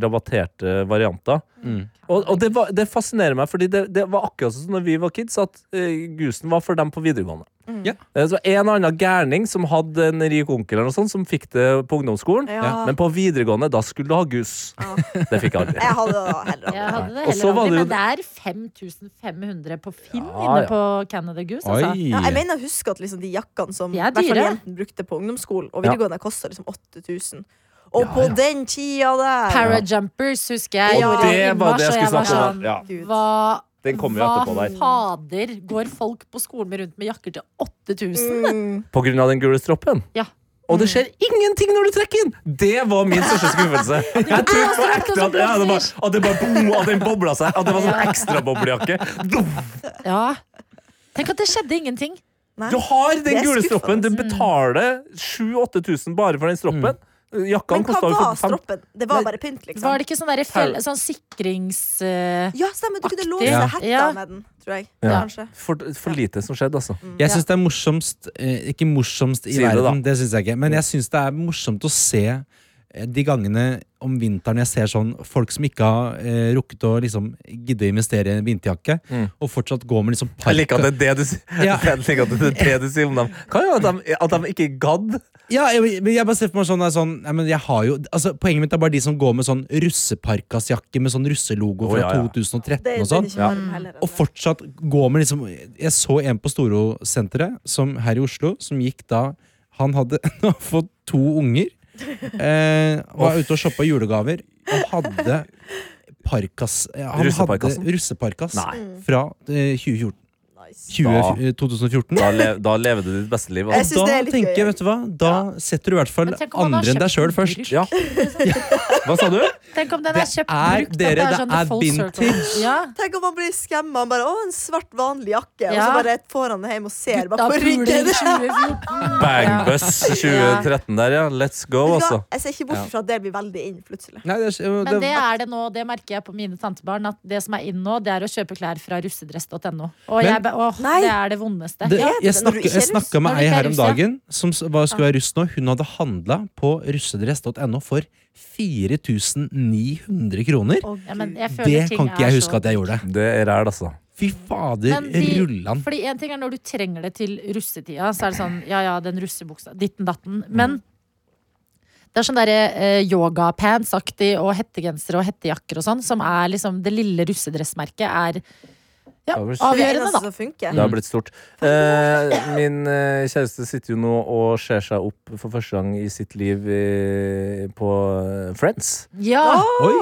S3: rabatterte varianter.
S4: Mm.
S3: Og, og det, var, det fascinerer meg, fordi det, det var akkurat sånn som når vi var kids, at eh, Gusen var for dem på videregående.
S5: Mm.
S4: Ja.
S3: Eh, Så en og annen gærning som hadde en rik onkel eller noe sånt, som fikk det på ungdomsskolen.
S5: Ja.
S3: Men på videregående, da skulle du ha gus.
S5: Ja.
S3: Det fikk jeg aldri.
S5: Jeg hadde det heller aldri.
S2: Jeg hadde det
S3: Og så
S2: heller
S3: var
S2: aldri,
S3: det jo-
S2: men det er 5500 på Finn
S3: Ja, ja.
S2: inne på Canada Goose. Altså.
S4: Oi!
S5: Ja, jeg mener å huske at liksom, de jakkene som
S2: De
S5: i
S2: er
S5: hvert fall
S2: dyre.
S5: jentene brukte på ungdomsskolen og videregående, kosta liksom 8000. Og på den tida der!
S2: Parajumpers husker jeg.
S3: Og
S2: gjorde
S3: det var
S2: innmarsj,
S3: det jeg
S2: og
S3: skulle
S2: var
S3: snakke om.
S2: sånn,
S3: Ja.
S5: Gud.
S2: Hva,
S3: Den kommer jo
S2: hva
S3: etterpå der.
S2: fader går folk på skolen med rundt med jakker til 8000?
S5: Mm.
S3: På grunn av den gule stroppen.
S2: Ja.
S3: Og det skjer ingenting når du trekker inn! Det var min største skuffelse. Jeg trodde på ekte at, ja, det bare, at det bare boom, at den bobla seg. At det var sånn ekstraboblejakke.
S5: Mm.
S2: Ja. Tenk at det skjedde ingenting.
S5: Nei.
S3: Du har
S5: Det
S3: den
S5: er
S3: gule stroppen.
S5: skuffende.
S3: Du betaler 7000-8000 bare for den stroppen. Jakka
S5: Men hva
S3: kosta jo
S5: var
S3: 45
S5: stroppen? Det var bare pynt, liksom.
S2: Var det ikke sånn, derre fjell, sånn sikrings... eh,
S5: Ja, stemmer. Du kunne
S2: Aktig.
S5: låse
S4: Ja.
S5: hetta
S2: Ja.
S5: med den, tror jeg.
S3: Ja.
S5: Kanskje.
S3: for, for lite som skjedde, altså.
S4: Jeg syns det er morsomst eh, Ikke morsomst i
S3: Si det,
S4: verden,
S3: da.
S4: det syns jeg ikke. Men jeg syns det er morsomt å se eh, de gangene om vinteren jeg ser sånn folk som ikke har eh, rukket å liksom gidde å investere i en vinterjakke, og fortsatt går med liksom
S3: Mm. Jeg liker at det er det du, sier-
S4: Ja.
S3: jeg liker at det, er det du sier om dem. Kan jo at de, at de ikke gadd.
S4: Ja, jeg, men jeg bare ser for meg sånn, det er sånn nei, men jeg har jo, altså, Poenget mitt er bare de som går med sånn russeparkasjakke med sånn russelogo
S3: Å,
S4: fra
S3: ja, ja.
S4: 2013
S5: Det,
S4: og sånn.
S5: det er altså. ikke varm heller.
S4: Og fortsatt gå med liksom Jeg så en på Storo-senteret som- her i Oslo som gikk da Han hadde fått to unger. Eh, var ute og shoppa julegaver. Han hadde parkas ja, Han hadde
S3: Russeparkasen?
S4: russeparkas
S3: Nei.
S4: fra eh, 2014,
S5: Nice.
S4: 20, 2014.
S3: Da, le, da lever du ditt beste liv.
S5: Jeg
S3: Altså.
S4: Da
S5: synes det er litt
S4: tenker jeg,
S5: gøy.
S4: vet du hva Da setter du i hvert fall
S2: Men tenk om han har
S4: andre enn deg
S2: kjøpt
S4: sjøl
S2: en
S4: først.
S2: bruk.
S3: Ja. Hva sa du?
S2: Tenk om den
S4: Det
S2: er kjøpt
S4: er-
S2: brukt. at
S4: dere, det
S2: sånn
S4: er
S2: full circle.
S4: vintage.
S2: Ja.
S5: Tenk om man blir skamma. Han bare 'Å, en svart, vanlig jakke', og
S2: Ja.
S5: så bare får han det hjem og ser
S2: Da
S5: bare på
S2: puler
S5: ryggen.
S2: 2014. Ja.
S3: Bangbus 2013 der, ja. Let's go,
S5: Vet du
S3: altså.
S5: hva? Jeg ser ikke bort fra at det blir veldig inn plutselig.
S4: Nei, det, er-
S2: Men det er det nå, det merker jeg på mine tantebarn, at det som er inn nå, det er å kjøpe klær fra russedress.no. Og
S4: Men-
S2: jeg, ba- åh,
S5: Nei.
S2: det er det vondeste.
S4: det,
S2: Ja.
S5: det
S4: jeg
S5: når du
S4: snakka,
S5: ikke er
S4: jeg
S5: russ?
S4: snakka
S2: Når
S4: med
S2: du
S4: ei
S2: ikke er
S4: her om
S2: russ, ja.
S4: dagen som s- var, skulle være russ nå. Hun hadde handla på russedress.no for 4900 kroner.
S5: Å,
S2: Ja, men
S5: Gud.
S2: jeg føler
S4: Det
S2: ting
S4: kan
S2: er
S4: ikke jeg
S2: så-
S4: huske at jeg gjorde.
S3: Det er ræl, altså.
S4: Fy fader,
S2: Men de-
S4: rullan.
S2: Fordi en ting er når du trenger det til russetida, så er det sånn ja ja, den russebuksa, ditten datten.
S3: Mm.
S2: Men det er sånn derre eh, yogapantsaktig og hettegensere og hettejakker og sånn, som er liksom det lille russedressmerket er ja,
S3: Det
S5: Det er altså. det
S2: avgjørende,
S5: eneste
S2: da.
S5: som funker.
S3: Det har blitt stort. Eh, min eh, kjæreste sitter jo nå og ser seg opp for første gang i sitt liv eh, på eh, Friends.
S2: Ja!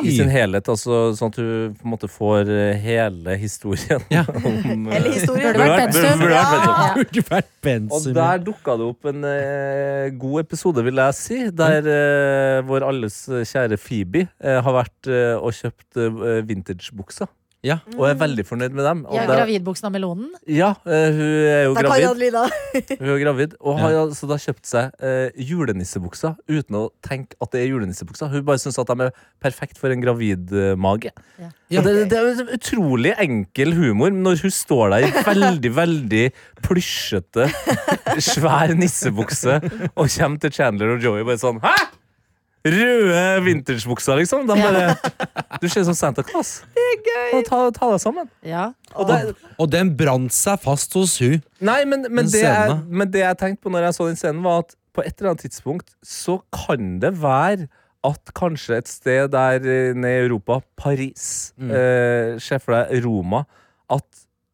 S3: I sin
S4: Oi!
S3: helhet, altså, sånn at du på en måte får eh, hele historien.
S4: Ja.
S3: om, eh,
S5: Hele historien.
S2: Burde vært pensum.
S3: burde vært pensum.
S2: Ja.
S4: Burde vært
S3: Og
S4: pensum.
S3: der dukka det opp en eh, god episode, vil jeg si, der eh, vår alles kjære Phoebe eh, har vært eh, og kjøpt eh, vintagebukser.
S4: Ja.
S3: Og
S5: Mm.
S3: er veldig fornøyd med dem. Og
S2: Ja,
S3: da-
S2: gravidbuksen av melonen.
S3: ja, eh, hun er jo
S5: Da kan han
S3: gravid.
S5: lida.
S3: Hun er gravid og har altså da kjøpt seg eh, julenissebukser uten å tenke at det er julenissebukser. Hun bare syns at de er perfekt for en gravidmage.
S2: Ja.
S3: Og det, det er jo en sånn utrolig enkel humor når hun står der i veldig, veldig plysjete, svær nissebukse og kommer til Chandler og Joey bare sånn Hæ?! Røde vintagebukser, liksom. De bare, du ser ut som Santa Claus. Det er gøy Ta, ta deg sammen.
S2: Ja.
S3: Og det,
S4: Og den brant seg fast hos hun.
S3: Nei, men, men,
S4: Den
S3: det jeg,
S4: scenen,
S3: men det jeg tenkte på når jeg så den scenen, var at på et eller annet tidspunkt så kan det være at kanskje et sted der eh, nede i Europa, Paris,
S4: Mm.
S3: eh, se for deg Roma, at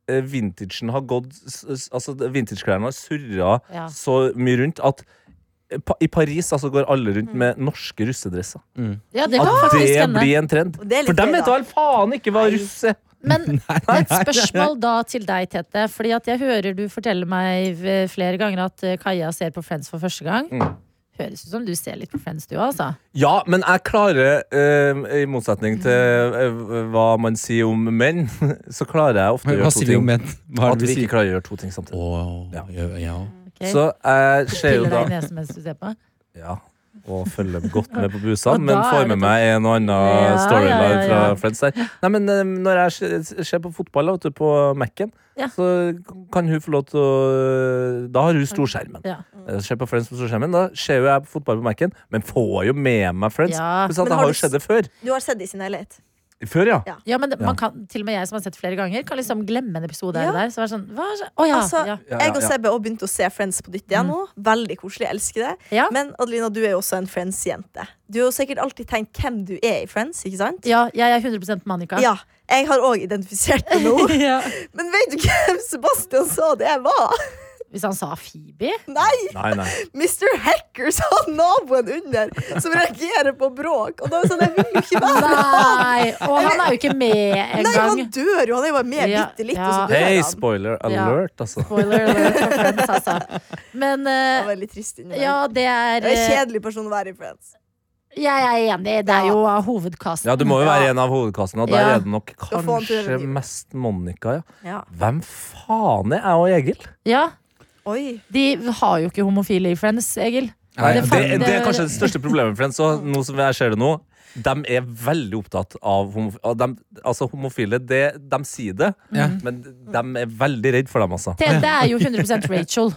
S3: eh, vintagen har gått s- s- Altså vintageklærne har surra
S2: Ja.
S3: så mye rundt at eh, pa- i Paris altså, går alle rundt
S5: Mm.
S3: med norske russedresser.
S2: ja, det kan
S3: At
S2: faktisk
S3: det
S2: hende.
S3: blir en trend.
S5: Og det er litt
S3: For dem
S5: gøy,
S3: vet
S5: da.
S3: da vel faen ikke hva russe
S2: Men et spørsmål da til deg, Tete. Fordi at jeg hører du fortelle meg v- flere ganger at eh, Kaja ser på Friends for første gang.
S3: Mm.
S2: Høres ut som du ser litt på Friends, du òg, altså.
S3: Ja, men jeg klarer, eh, i motsetning til eh, hva man sier om menn, så klarer jeg ofte å
S4: Hva
S3: gjøre to
S4: sier vi om
S3: ting.
S4: menn? Hva er
S3: At
S4: det
S3: vi
S4: vi
S3: ikke
S4: sier?
S3: klarer å gjøre to ting samtidig.
S4: Å, ja, ja.
S2: Ok?
S3: Så jeg ser jo
S2: Piller
S3: da
S2: deg i nesen mens du ser på.
S3: Ja, og følger godt med på busa,
S2: Og da
S3: men
S2: er
S3: får
S2: det
S3: med
S2: to-
S3: meg en og
S2: Ja,
S3: annen storyline
S2: ja, ja,
S3: fra
S2: ja.
S3: Friends der. Nei, men eh, når jeg se- ser på fotball da, vet du, på Mac-en,
S2: Ja.
S3: så kan hun få lov til å Da har hun storskjermen.
S2: Ja.
S3: Jeg ser på Friends på storskjermen, da ser jo jeg på fotball på Mac-en, men får jo med meg Friends.
S2: Ja.
S3: Pluss at
S5: Men
S3: jeg
S5: har
S3: har
S5: du
S3: jo sett det før.
S5: Du har sett det i sin helhet.
S3: Før, ja.
S5: Ja.
S2: Ja, men det,
S3: Ja.
S2: man kan, til og med jeg som har sett flere ganger, kan liksom glemme en episode her og
S5: Ja.
S2: der. Så er det sånn, hva er det? Å ja,
S5: Altså,
S2: ja.
S3: Ja, ja,
S5: Jeg og
S3: ja.
S5: Sebbe har begynt å se Friends på nytt igjen nå. Veldig koselig. Jeg elsker det.
S2: Ja.
S5: Men Adelina, du er jo også en Friends-jente. Du har jo sikkert alltid tenkt hvem du er i Friends, ikke sant?
S2: ja, jeg er 100 Manika.
S5: Ja. Jeg har òg identifisert det nå.
S2: Ja.
S5: Men vet du hvem Sebastian sa det jeg var?
S2: Hvis han sa Phoebe
S5: Nei!
S3: Nei, nei.
S5: Mr. Hacker sa naboen under, som reagerer på bråk. Og da er det sånn, jeg vil jo ikke være
S2: Nei! Og han er jo ikke med
S5: Nei, han
S2: engang.
S5: dør jo. Han er jo bare med
S2: Ja,
S5: bitte litt,
S2: ja.
S5: og så dør
S3: Hei,
S5: han.
S3: spoiler
S2: Ja.
S3: alert, altså.
S2: Spoiler alert for Friends, altså. Men
S5: Det
S2: eh,
S5: var veldig trist inni meg.
S2: ja, det er
S5: Jeg er en
S2: eh,
S5: kjedelig person å være i Friends.
S2: Jeg er enig. Det er
S5: Ja.
S2: jo av hovedkasten.
S3: Ja, du må jo være en av hovedkassene, og der
S2: Ja.
S3: er det nok
S5: Da får han til å
S3: kanskje
S5: gjøre det.
S3: mest Monica, ja.
S5: Ja.
S3: Hvem faen er jeg og Egil?
S2: Ja,
S5: Oi.
S2: De har jo ikke homofile i Friends, Egil.
S3: Nei,
S2: Det
S3: det,
S2: fant-
S3: det er
S2: det-
S3: kanskje det største problemet, Friends. Og nå som jeg ser det nå, de er veldig opptatt av homofile. altså, homofile det, de sier det,
S4: Ja.
S3: men de er veldig redd for dem, altså.
S2: Tete er jo 100 Rachel.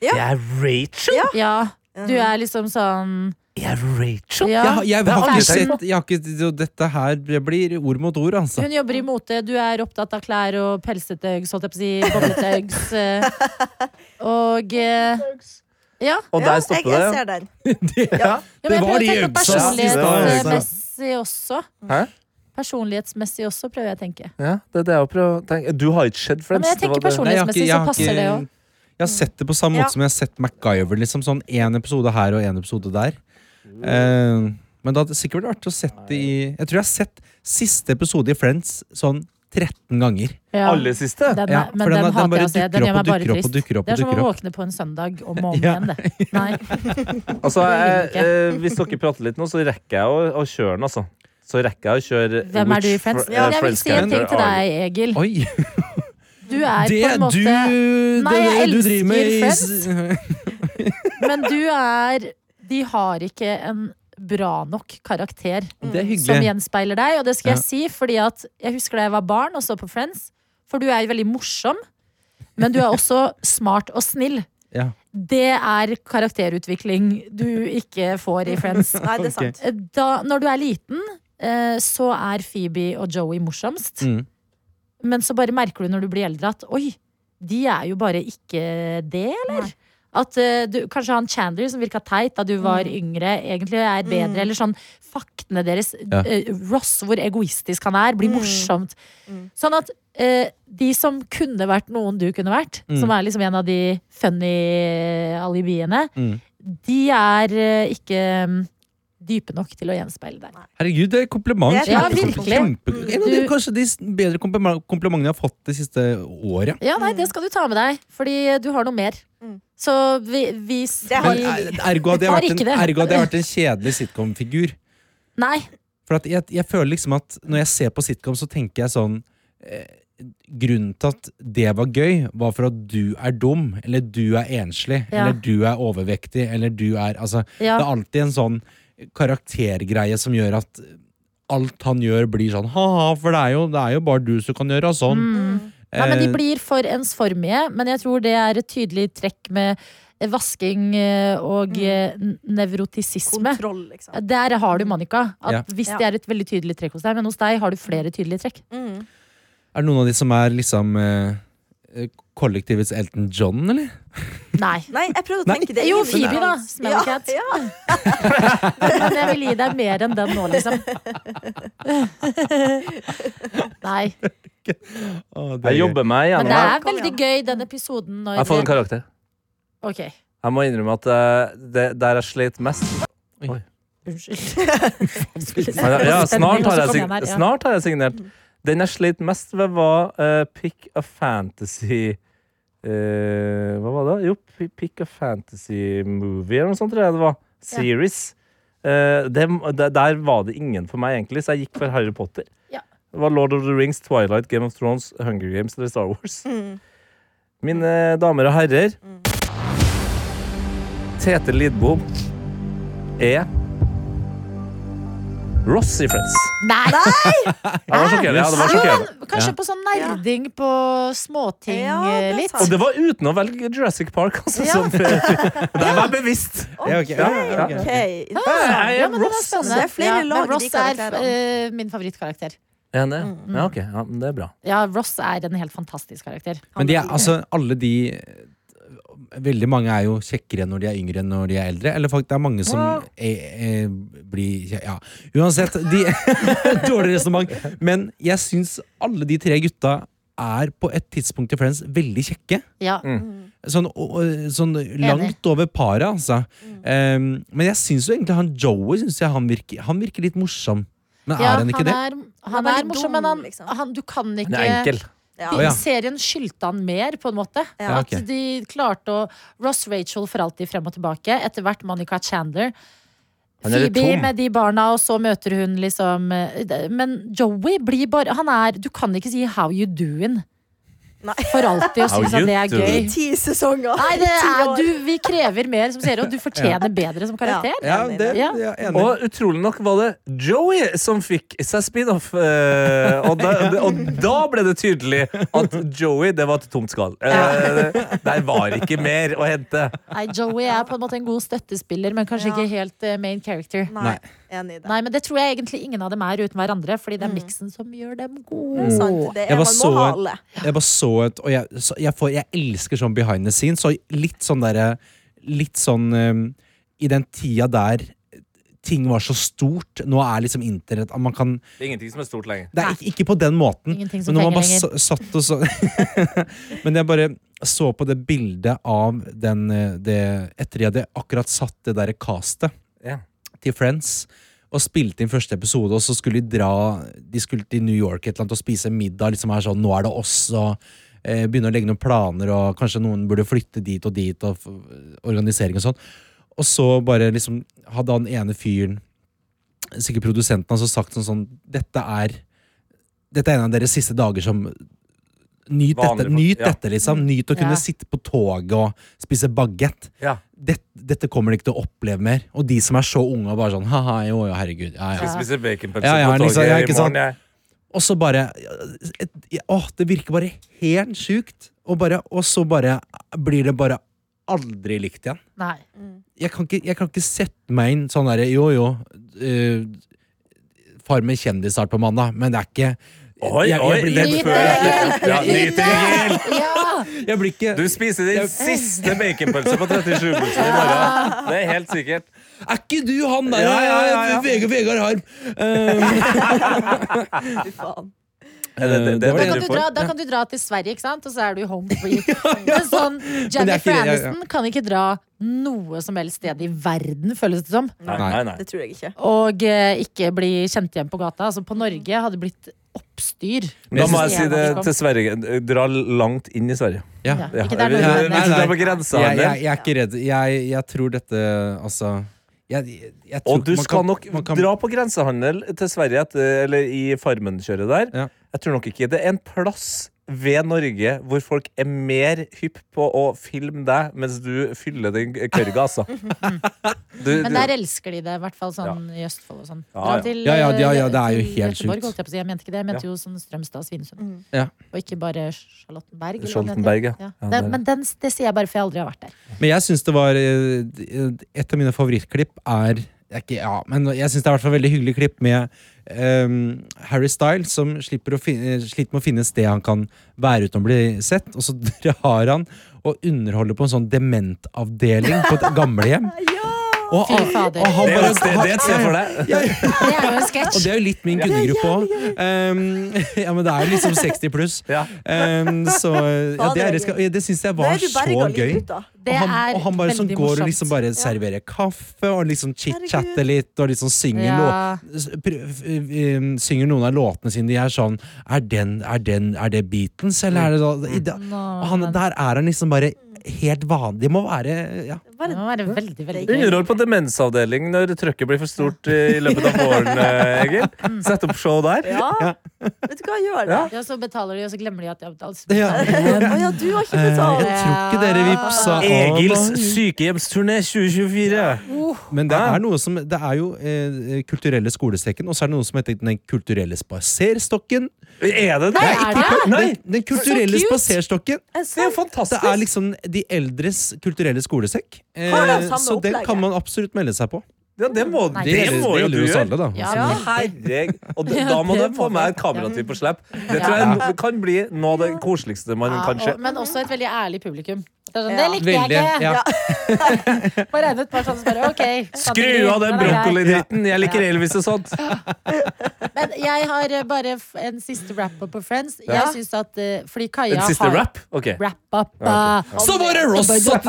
S5: Ja.
S3: Jeg er Rachel!
S2: Ja, du er liksom sånn
S3: Jeg er Rachel!
S2: ja.
S4: Jeg, har- jeg,
S3: Det har
S4: har
S3: aldri
S4: ikke sett jeg har ikke, det- Dette her det blir ord mot ord, altså.
S2: Hun jobber i mote, du er opptatt av klær og pelsete øggs, holdt jeg på å si. Boblete øggs. eh, Og eh, Ja.
S3: Og der
S5: jeg,
S3: stopper
S5: jeg
S3: det.
S5: ser den.
S2: ja men jeg
S4: Det var
S2: prøver å
S4: de
S2: tenke på
S4: øggsa.
S2: personlighetsmessig også.
S3: Hæ?
S2: Personlighetsmessig også, prøver jeg å tenke.
S3: Ja, det er det jeg prøver å tenke. Du har ikke sett Friends.
S2: Ja, men jeg
S3: det var
S2: tenker
S3: det.
S2: personlig. Personlighetsmessig så passer det jo.
S4: Jeg har sett det på samme
S5: Ja.
S4: måte som jeg har sett MacGyver. Liksom sånn én episode her og én episode der. Eh, men det hadde sikkert vært artig å sett det i Jeg tror jeg har sett siste episode i Friends sånn 13 ganger.
S2: Ja.
S3: Aller siste?
S2: Den,
S4: Ja,
S2: er- men
S4: for
S2: den,
S4: den- den
S2: hater
S4: bare
S2: jeg å se. Den
S4: dukker
S2: gjør
S4: opp
S2: meg
S4: og
S2: bare
S4: dukker opp
S2: trist.
S4: og dukker opp
S2: det
S4: og
S2: er som å
S4: dukker opp.
S2: våkne på en søndag om og om
S4: Ja.
S2: igjen, det. Nei.
S3: Altså, jeg,
S2: Det vil
S3: eh, hvis dere prater litt nå, så rekker jeg å, å kjøre den, altså. Så rekker jeg å kjøre
S2: Hvem er du i
S3: Which
S2: Friends?
S3: Fr-
S2: Ja,
S3: eh,
S2: jeg vil
S3: Friends
S2: si en ting
S3: character
S2: til
S3: are you?
S2: deg, Egil.
S4: Oi!
S2: Du er
S4: Det
S2: på en
S4: du,
S2: måte Nei,
S4: det,
S2: jeg
S4: du driver med
S2: elsker
S4: i s-
S2: Men du er De har ikke en bra nok karakter
S4: Det er
S2: som
S4: hyggelig.
S2: gjenspeiler deg, og det skal
S4: Ja.
S2: jeg si fordi at jeg husker da jeg var barn og så på Friends, for du er veldig morsom, men du er også smart og snill.
S4: Ja.
S2: Det er karakterutvikling du ikke får i Friends.
S5: Nei, det er
S4: Ok.
S5: sant.
S2: Da, når du er liten, eh, så er Phoebe og Joey morsomst.
S4: Mm.
S2: Men så bare merker du når du blir eldre at oi, de er jo bare ikke det, eller? At eh, du, Kanskje han Chandler som virka teit da du var yngre, egentlig er bedre. Eller sånn faktene deres
S4: Ja.
S2: eh, Ross, hvor egoistisk han er, blir morsomt. Sånn at eh, de som kunne vært noen du kunne vært,
S4: Mm.
S2: som er liksom en av de funny alibiene,
S4: Mm.
S2: de er eh, ikke mm, dype nok til å gjenspeile deg.
S4: Herregud, det er kompliment.
S5: Det er
S2: Ja,
S4: Kjempe-
S2: virkelig.
S4: kjempe- en av de,
S2: Du-
S4: kanskje de s- bedre komplima- komplimentene jeg har fått det siste året.
S2: Ja, nei, det skal du ta med deg, fordi eh, du har noe mer.
S5: Mm.
S2: Så vi, vi, vi
S5: Det har
S4: Men er- ergo hadde jeg
S2: Har
S4: vært en,
S2: ikke det.
S4: ergo hadde jeg vært en kjedelig sitcom-figur.
S2: Nei.
S4: For at jeg, jeg føler liksom at når jeg ser på sitcom, så tenker jeg sånn eh, Grunnen til at det var gøy, var for at du er dum, eller du er enslig,
S2: Ja.
S4: eller du er overvektig, eller du er Altså,
S2: Ja.
S4: det er alltid en sånn karaktergreie som gjør at alt han gjør, blir sånn ha-ha, for det er, jo, det er jo bare du som kan gjøre sånn.
S2: Nei, Mm. men De
S4: Eh,
S2: blir for ensformige, men jeg tror det er et tydelig trekk med vasking eh, og
S5: Mm.
S2: eh, n- nevrotisisme.
S5: Kontroll, liksom.
S2: Der har du Monica. At
S4: Ja.
S2: Hvis
S5: Ja.
S2: det er et veldig tydelig trekk hos deg, men hos deg har du flere tydelige trekk.
S5: Mm.
S4: Er det noen av de som er liksom eh, eh, kollektivets Elton John, eller?
S2: Nei.
S5: Nei, jeg prøvde å
S4: Nei.
S5: tenke det.
S2: Jo,
S5: inn i
S2: Phoebe, da.
S5: Friends.
S2: Smelly cat.
S5: Ja, ja.
S2: Men jeg vil gi deg mer enn den nå, liksom. Nei.
S3: Jeg jobber meg
S2: Men
S3: gjennom
S2: det
S3: her.
S2: er veldig gøy, den episoden når
S3: Jeg får en karakter.
S2: Ok,
S3: Jeg må innrømme at eh, det, der jeg sleit mest
S2: unnskyld.
S3: ja, snart, har jeg,
S2: Kom igjen
S3: sign-
S2: her, ja.
S3: snart har jeg signert. Den jeg sleit mest ved, var eh, Pick a Fantasy eh, Hva var det? Jo, P- Pick a Fantasy Movie eller noe sånt, tror jeg det var. Series. Eh, det, det- der var det ingen for meg, egentlig, så jeg gikk for Harry Potter.
S2: Ja.
S3: Det var Lord of the Rings, Twilight, Game of Thrones, Hunger Games eller Star Wars.
S2: Mm.
S3: Mine damer og herrer, Tete Lidbom er Ross i Friends.
S2: Nei!
S3: Ja, det var sjokkerende. Ja, det var
S2: Jo,
S3: sjokkerende.
S2: men kanskje
S4: Ja.
S2: på sånn nerding på småting
S5: Ja, det
S2: eh,
S5: er
S2: litt.
S5: sant.
S3: Og det var uten å velge Jurassic Park, altså.
S2: Ja.
S3: Som, det var bevisst.
S4: Ja, ok. Ja, ja, ok.
S5: Ok,
S3: Jeg
S2: Ja,
S3: er
S2: men den er
S3: Ross. altså.
S2: spennende.
S5: Det er flere
S2: men
S5: lag i de
S2: Ross er
S5: karakterene.
S2: eh, min favorittkarakter.
S3: Er han det? Ja, ok. Ja, men det er bra.
S2: Ja, Ross er en helt fantastisk karakter.
S4: Men de er, altså, alle de Veldig mange er jo kjekkere når de er yngre enn når de er eldre. Eller faktisk, det er mange som er, er, blir kje- Ja, uansett. De, dårlig resonnement. Men jeg syns alle de tre gutta er på et tidspunkt i Friends veldig kjekke.
S2: Ja,
S3: Mm.
S4: Sånn, og, og, sånn langt over paret, altså. Ehm, men jeg syns jo egentlig han Joey synes jeg han virker, han virker litt morsom. Men
S2: ja
S4: er han ikke det?
S2: er, han
S5: Han er
S2: er
S5: litt
S2: morsom,
S5: dum,
S2: men han,
S5: liksom.
S2: han, du kan ikke
S3: Den er enkel.
S5: Ja.
S4: Å, ja.
S2: Serien skyldte han mer, på en måte.
S5: Ja,
S2: At
S4: ok.
S2: de klarte å Ross Rachel for alltid frem og tilbake. Etter hvert Monica Chandler.
S3: Han er litt
S2: Phoebe
S3: tom.
S2: med de barna, og så møter hun liksom eh, det- Men Joey blir bare Han er Du kan ikke si 'how you doing'
S5: Nei.
S2: for alltid og
S3: How
S2: synes at
S3: you
S2: det er
S5: I
S2: gøy.
S3: doing?
S5: ti sesonger!
S2: Nei, det
S5: i ti
S2: er,
S5: år.
S2: du, vi krever mer som serie, og du fortjener bedre som karakter.
S4: Ja,
S5: Ja.
S4: det,
S2: Ja.
S4: jeg er enig.
S3: Og utrolig nok var det Joey som fikk seg spin-off. eh, og, da- og da ble det tydelig at Joey, det var et tomt skall. Eh, der var ikke mer å hente.
S2: Nei, Joey er på en måte en god støttespiller, men kanskje
S5: Ja.
S2: ikke helt eh, main character.
S5: Nei, enig i det.
S2: Nei, men det tror jeg egentlig ingen av dem er uten hverandre, fordi det er miksen som gjør dem gode.
S5: Mm. Det er sant. Det
S4: Jeg
S5: er,
S4: var
S5: man må ha
S4: så-
S5: alle.
S4: Jeg bare så et Og jeg, så, jeg, får, jeg elsker sånn behind the scenes. Og litt sånn derre Litt sånn um, I den tida der ting var så stort. Nå er liksom internett Man kan
S3: Det er ingenting som er stort lenger.
S4: Det er ikke, ikke på den måten.
S2: Ingenting som
S4: Men når man bare
S2: fenger
S4: sa- satt og så Men jeg bare så på det bildet av den eh, det, Etter jeg hadde akkurat satt det derre castet
S3: Ja.
S4: til Friends og spilte inn første episode, og så skulle de dra De skulle til New York et eller annet og spise middag. Liksom er sånn, nå er det oss og eh, Begynne å legge noen planer, og kanskje noen burde flytte dit og dit. Og f- organisering og sånn. Og så bare liksom hadde han ene fyren, sikkert produsenten, altså sagt sånn sånn Dette er Dette er en av deres siste dager som
S3: Vanlig
S4: Nyt dette,
S3: folk,
S4: nyt
S3: ja. Mm.
S4: dette, liksom. Nyt å kunne
S2: Ja.
S4: sitte på toget og spise bagett
S3: Ja.
S4: dette, dette kommer de ikke til å oppleve mer. Og de som er så unge og bare sånn haha, jo, jo, herregud. Ja,
S3: Skal
S4: ja.
S3: spise baconpølse
S4: Ja, ja,
S3: på toget
S4: liksom, ja, ikke
S3: i
S4: sant?
S3: morgen. jeg.
S4: Og så bare et, Åh, det virker bare helt sjukt. Og, bare, og så bare blir det bare aldri likt igjen.
S2: Nei.
S4: Jeg kan ikke, jeg kan ikke sette meg inn sånn derre jo, jo. eh, far med kjendisstart på mandag, men det er ikke
S3: Oi,
S4: jeg,
S3: oi,
S4: jeg, blir,
S3: den
S2: Nyt
S3: føler jeg. Ja, nyt det helt.
S2: Ja!
S4: jeg blir ikke
S3: Du spiser din siste baconpølse på 37-pulsen i morgen. Det er helt sikkert.
S4: Er ikke du han der
S3: Ja, ja, ja, ja.
S4: Vegard, Vegard Harm? Eh,
S5: Fy faen.
S3: Er det- Eh, det- det
S4: det var
S2: Da
S3: er
S2: kan,
S4: det.
S3: du
S2: du
S3: får.
S2: dra, da kan du dra til Sverige, ikke sant? Og så er du home free. Men sånn,
S4: ikke
S2: Jennifer
S4: det, ja, ja.
S2: Aniston kan ikke dra noe som helst sted i verden, føles det som.
S3: Nei, nei, nei.
S5: Det tror jeg ikke.
S2: Og eh, ikke bli kjent igjen på gata. Altså, på Norge hadde det blitt oppstyr.
S3: Da må jeg si
S2: Hvis
S3: det
S2: kom.
S3: til Sverige. Dra langt inn i Sverige.
S4: ja.
S2: Ja.
S3: Ja.
S2: Ikke der
S3: Hvis
S2: Norge
S4: Nei,
S3: du-
S2: er
S4: nei,
S3: hvis
S2: nede.
S3: du
S4: nei.
S3: er på grensa
S4: jeg,
S3: der.
S4: jeg, jeg er ikke redd. Jeg, jeg tror dette Altså jeg, jeg, jeg tror
S3: Og du
S4: man
S3: skal
S4: kan-
S3: nok
S4: man kan-
S3: dra på grensehandel til Sverige etter, eller i Farmen-kjøret der.
S4: Ja.
S3: Jeg tror nok ikke det er en plass ved Norge hvor folk er mer hypp på å filme deg mens du fyller den kørga, altså. Du,
S2: Men
S3: du,
S2: der elsker de det, i hvert fall sånn i Østfold og sånn.
S3: Ja,
S2: Dra
S3: ja.
S2: til, eh,
S4: Ja, ja, ja, ja, det er jo
S2: til
S4: helt
S2: Göteborg,
S4: sjukt.
S2: holdt jeg på å si. Jeg mente ikke det, jeg mente jo sånn Strømstad og Svinesund.
S4: Ja.
S2: Og ikke bare Charlottenberg. eller hva det heter.
S3: Skjoltenberg, ja.
S2: Ja.
S3: Ja,
S2: Det,
S3: der, ja.
S2: men den, det sier jeg bare, for jeg aldri har vært der.
S4: Men jeg syns det var eh, Et av mine favorittklipp er det er ikke, ja, men jeg syns det er i hvert fall veldig hyggelig klipp med ehm, Harry Styles, som slipper å finne, sliter med å finne et sted han kan være uten å bli sett, og så drar han og underholder på en sånn dementavdeling på et gamlehjem. Og,
S2: Fy fader.
S4: og han
S3: det er jo
S4: bare-
S3: et sted, det er et sted for deg.
S2: Det er jo en
S4: Og
S2: sketsj.
S4: det er jo litt min kundegruppe òg. ja, men det er jo liksom 60 pluss.
S3: Ja.
S4: Um, så ja, det, er- det, skal- det syns jeg
S5: Da
S4: var
S5: er du
S4: så
S5: berga
S4: gøy.
S5: litt ut, da.
S2: Det
S4: og, han,
S2: er
S4: og han bare sånn
S2: veldig
S4: går og
S2: morsomt.
S4: liksom bare serverer kaffe og liksom chit-chatter litt og liksom synger,
S2: Ja.
S4: lå- s- pr- f- um, synger noen av låtene sine. De er sånn Er, den, er, den, er det Beatles, eller er det da, i da,
S2: Nå,
S4: og han,
S2: men-
S4: Der er han liksom bare helt vanlig. Det må være ja.
S2: Det må være veldig, veldig gøy.
S3: Underhold på demensavdeling når trøkket blir for stort eh, i løpet av våren, eh, Egil. Sett opp show der.
S5: Ja. Vet du hva, gjør det.
S3: Ja.
S2: Ja, så betaler de, og så glemmer de at de har betalt.
S4: ja.
S5: Å ja, du har ikke
S4: Eh, jeg
S5: betalt.
S4: tror ikke dere vipsa av
S3: Egils
S4: meg.
S3: sykehjemsturné 2024.
S4: Men det
S3: Ja.
S4: er noe som Det er jo eh, kulturelle skolestekken, og så er det noe som heter Den kulturelle spaserstokken.
S3: Er det det?
S2: Nei, er det?
S3: Nei,
S4: Den, den kulturelle
S5: Så cute!
S4: spaserstokken!
S5: Jeg
S3: det er
S5: sa-
S3: jo
S4: Det
S3: fantastisk.
S4: er liksom de eldres kulturelle skolesekk. Eh,
S5: Har de samme
S4: så den
S5: opplegget?
S4: kan man absolutt melde seg på.
S3: Ja, det må,
S2: Nei,
S3: det
S2: det
S3: må jo du
S4: oss
S3: gjøre.
S4: alle, da.
S2: Ja.
S3: Ja. Herreg. Og da, da må du
S2: Ja, det
S3: få
S2: må
S3: med
S2: man.
S3: et kamerativ på slepp. Det tror jeg no- kan bli noe av det koseligste man
S2: Ja,
S3: kan se.
S2: og, men også et veldig ærlig publikum. Det, er sånn,
S5: Ja.
S2: det likte
S4: Veldig.
S2: jeg ikke!
S4: Ja.
S2: Bare regnet ut bare sånn, så bare, ok, kategori,
S3: Skru av den
S2: er grei.
S3: brokkolidritten! Jeg liker Elvis og sånt.
S2: Men jeg har eh, bare f- en siste wrap-up på Friends.
S5: Ja.
S2: Jeg synes at eh, Fordi Kaja
S3: En siste
S2: har
S3: rap? Ok.
S2: Wrap-up. eh,
S4: Så var det Ross at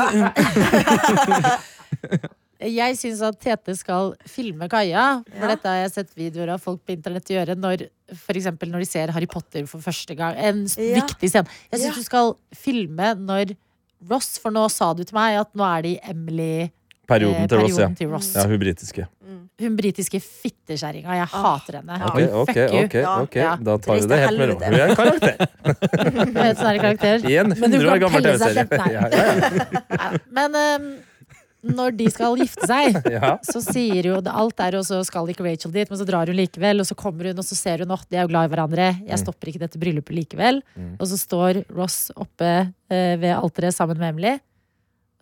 S2: Jeg syns at Tete skal filme Kaja. For dette har jeg sett videoer av folk på internett gjøre når for eksempel når de ser Harry Potter for første gang. En s-
S5: Ja.
S2: viktig scene. Jeg syns
S5: Ja.
S2: du skal filme når Ross, for nå sa du til meg at nå er det i
S3: Perioden
S2: Emily-perioden
S3: til Ross, ja.
S2: til Ross.
S3: Ja, hun britiske.
S2: Hun britiske fittekjerringa. Jeg
S5: Ah.
S2: hater henne.
S5: Ja.
S3: Ok, ok,
S2: Fuck you.
S3: ok, ok.
S2: Ja.
S3: Da tar vi det helt med ro.
S5: Helvete.
S3: Hun er en karakter.
S2: Hun er et sånn her karakter.
S3: I en
S2: Men du
S3: 100 år
S2: kan
S3: gammel
S2: pelle seg
S3: TV-serie.
S2: selv. Nei.
S3: Ja, ja,
S2: Nei, Men ehm, når de skal gifte seg,
S3: ja.
S2: så sier jo alt er jo så skal ikke Rachel dit, men så drar hun likevel. Og så kommer hun, og så ser hun at de er jo glad i hverandre.
S3: Mm.
S2: Jeg stopper ikke dette bryllupet likevel. Og så står Ross oppe eh, ved alteret sammen med Emily,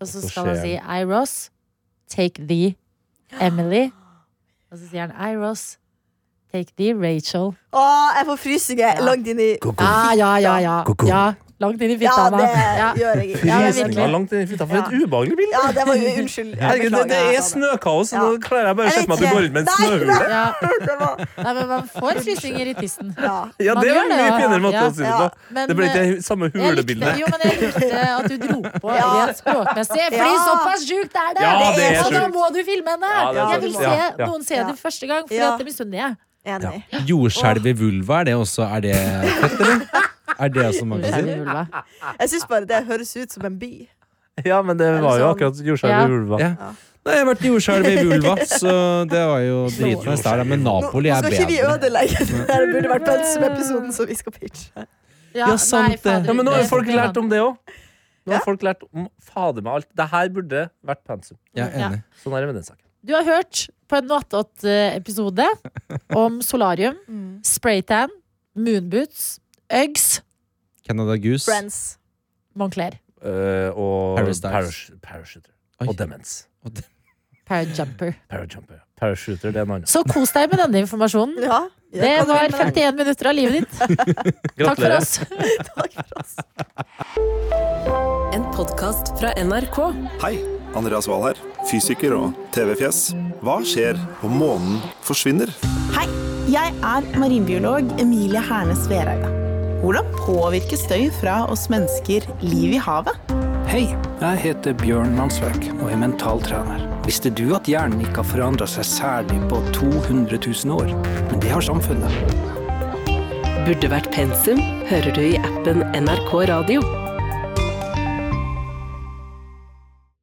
S2: og så
S3: så
S2: skal han
S3: skjer
S2: si I, Ross, take thee, Emily. Og så sier han I, Ross, take thee, Rachel.
S5: Å, jeg får frysninger
S2: Ja.
S5: langt inn i
S2: Ja, ja, ja. ja.
S1: Ko-ko.
S2: ja langt inn i
S5: Ja,
S2: fitta.
S5: det
S2: Ja,
S5: gjør jeg ikke. Ja, men
S2: virkelig.
S3: Frysninga langt inn i fitta. For et ubehagelig bilde!
S5: Ja, det var jo Unnskyld. Jeg
S3: Herregud, det, det
S5: beklager.
S3: er snøkaos, og
S5: Ja.
S3: nå klarer jeg bare å se
S5: Jeg
S3: for meg at du
S5: vet
S3: går ut med en
S5: ikke. Nei,
S3: snøhule.
S2: ja.
S5: Det var-
S2: Nei, men man får frysninger i tissen.
S5: Ja.
S3: Ja,
S2: Man
S3: det var
S2: gjør
S3: en
S2: det,
S3: mye
S2: ja.
S3: finere måte
S2: Ja,
S3: å si det
S5: ja.
S3: på.
S2: Men,
S3: Det ble ikke
S2: eh,
S3: det samme
S2: Jeg likte,
S3: hulebildet.
S2: jo, men jeg likte at du dro på
S5: Ja.
S2: rent språkmessig. Fordi
S5: Ja.
S2: såpass sjukt er det!
S3: Ja,
S5: det er
S2: og da
S3: sjukt.
S2: må du filme henne!
S3: Ja,
S5: det er
S2: jeg vil
S5: sant.
S2: se
S3: Ja, ja.
S2: noen se
S5: Ja.
S2: det første gang, fordi
S5: Ja.
S2: at det misunner jeg.
S5: Enig.
S4: Jordskjelv i vulva, er det også Er det fett, eller? Er det også man kan si?
S2: Ja.
S5: Jeg syns bare det høres ut som en by.
S3: Ja, men det var jo akkurat
S2: sånn. Ja.
S3: jordskjelv i ulva.
S4: Ja. Nei, jeg har vært jordskjelv i vulva, så det var jo dritnice der, da. Men
S5: Nå, nå
S4: Napoli er
S5: skal ikke vi
S4: bedre.
S5: ødelegge det der. Det burde vært Pensum-episoden som vi skal pitche.
S4: Ja, sant
S2: nei,
S4: det.
S2: fader,
S3: Ja, men nå har
S2: det
S3: jo folk
S2: er
S3: lært om det òg. Nå har
S5: Ja.
S3: folk lært om fader meg alt. Det her burde vært pensum.
S4: Jeg er enig.
S3: Sånn er det med den saken.
S2: Du har hørt på en 8-8-episode om solarium, spraytan, moonboots, Uggs,
S4: Canada Goose.
S5: Friends.
S2: Moncler,
S3: Eh, og
S4: Paris Dives.
S3: parash- parachuter.
S4: Oi.
S3: Og demens.
S2: parajumper.
S3: Parajumper. Parachuter, det er en annen.
S2: Så kos deg med denne informasjonen.
S5: Ja. gjør
S2: Det
S5: hva du
S2: var
S5: vil med det.
S2: 51 minutter av livet ditt. Takk for
S3: Gratulerer.
S2: oss.
S5: Takk for oss.
S6: En podkast fra NRK.
S7: Hei, Andreas Wahl her, fysiker og TV-fjes. Hva skjer om månen forsvinner?
S8: Hei, jeg er marinbiolog Emilie Hernes Vereide. Hvordan påvirker støy fra oss mennesker liv i havet?
S9: Hei, jeg heter Bjørn Mansverk og er mentaltrener. Visste du at hjernen ikke har forandra seg særlig på 200 000 år? Men det har samfunnet.
S6: Burde vært pensum, hører du i appen NRK Radio.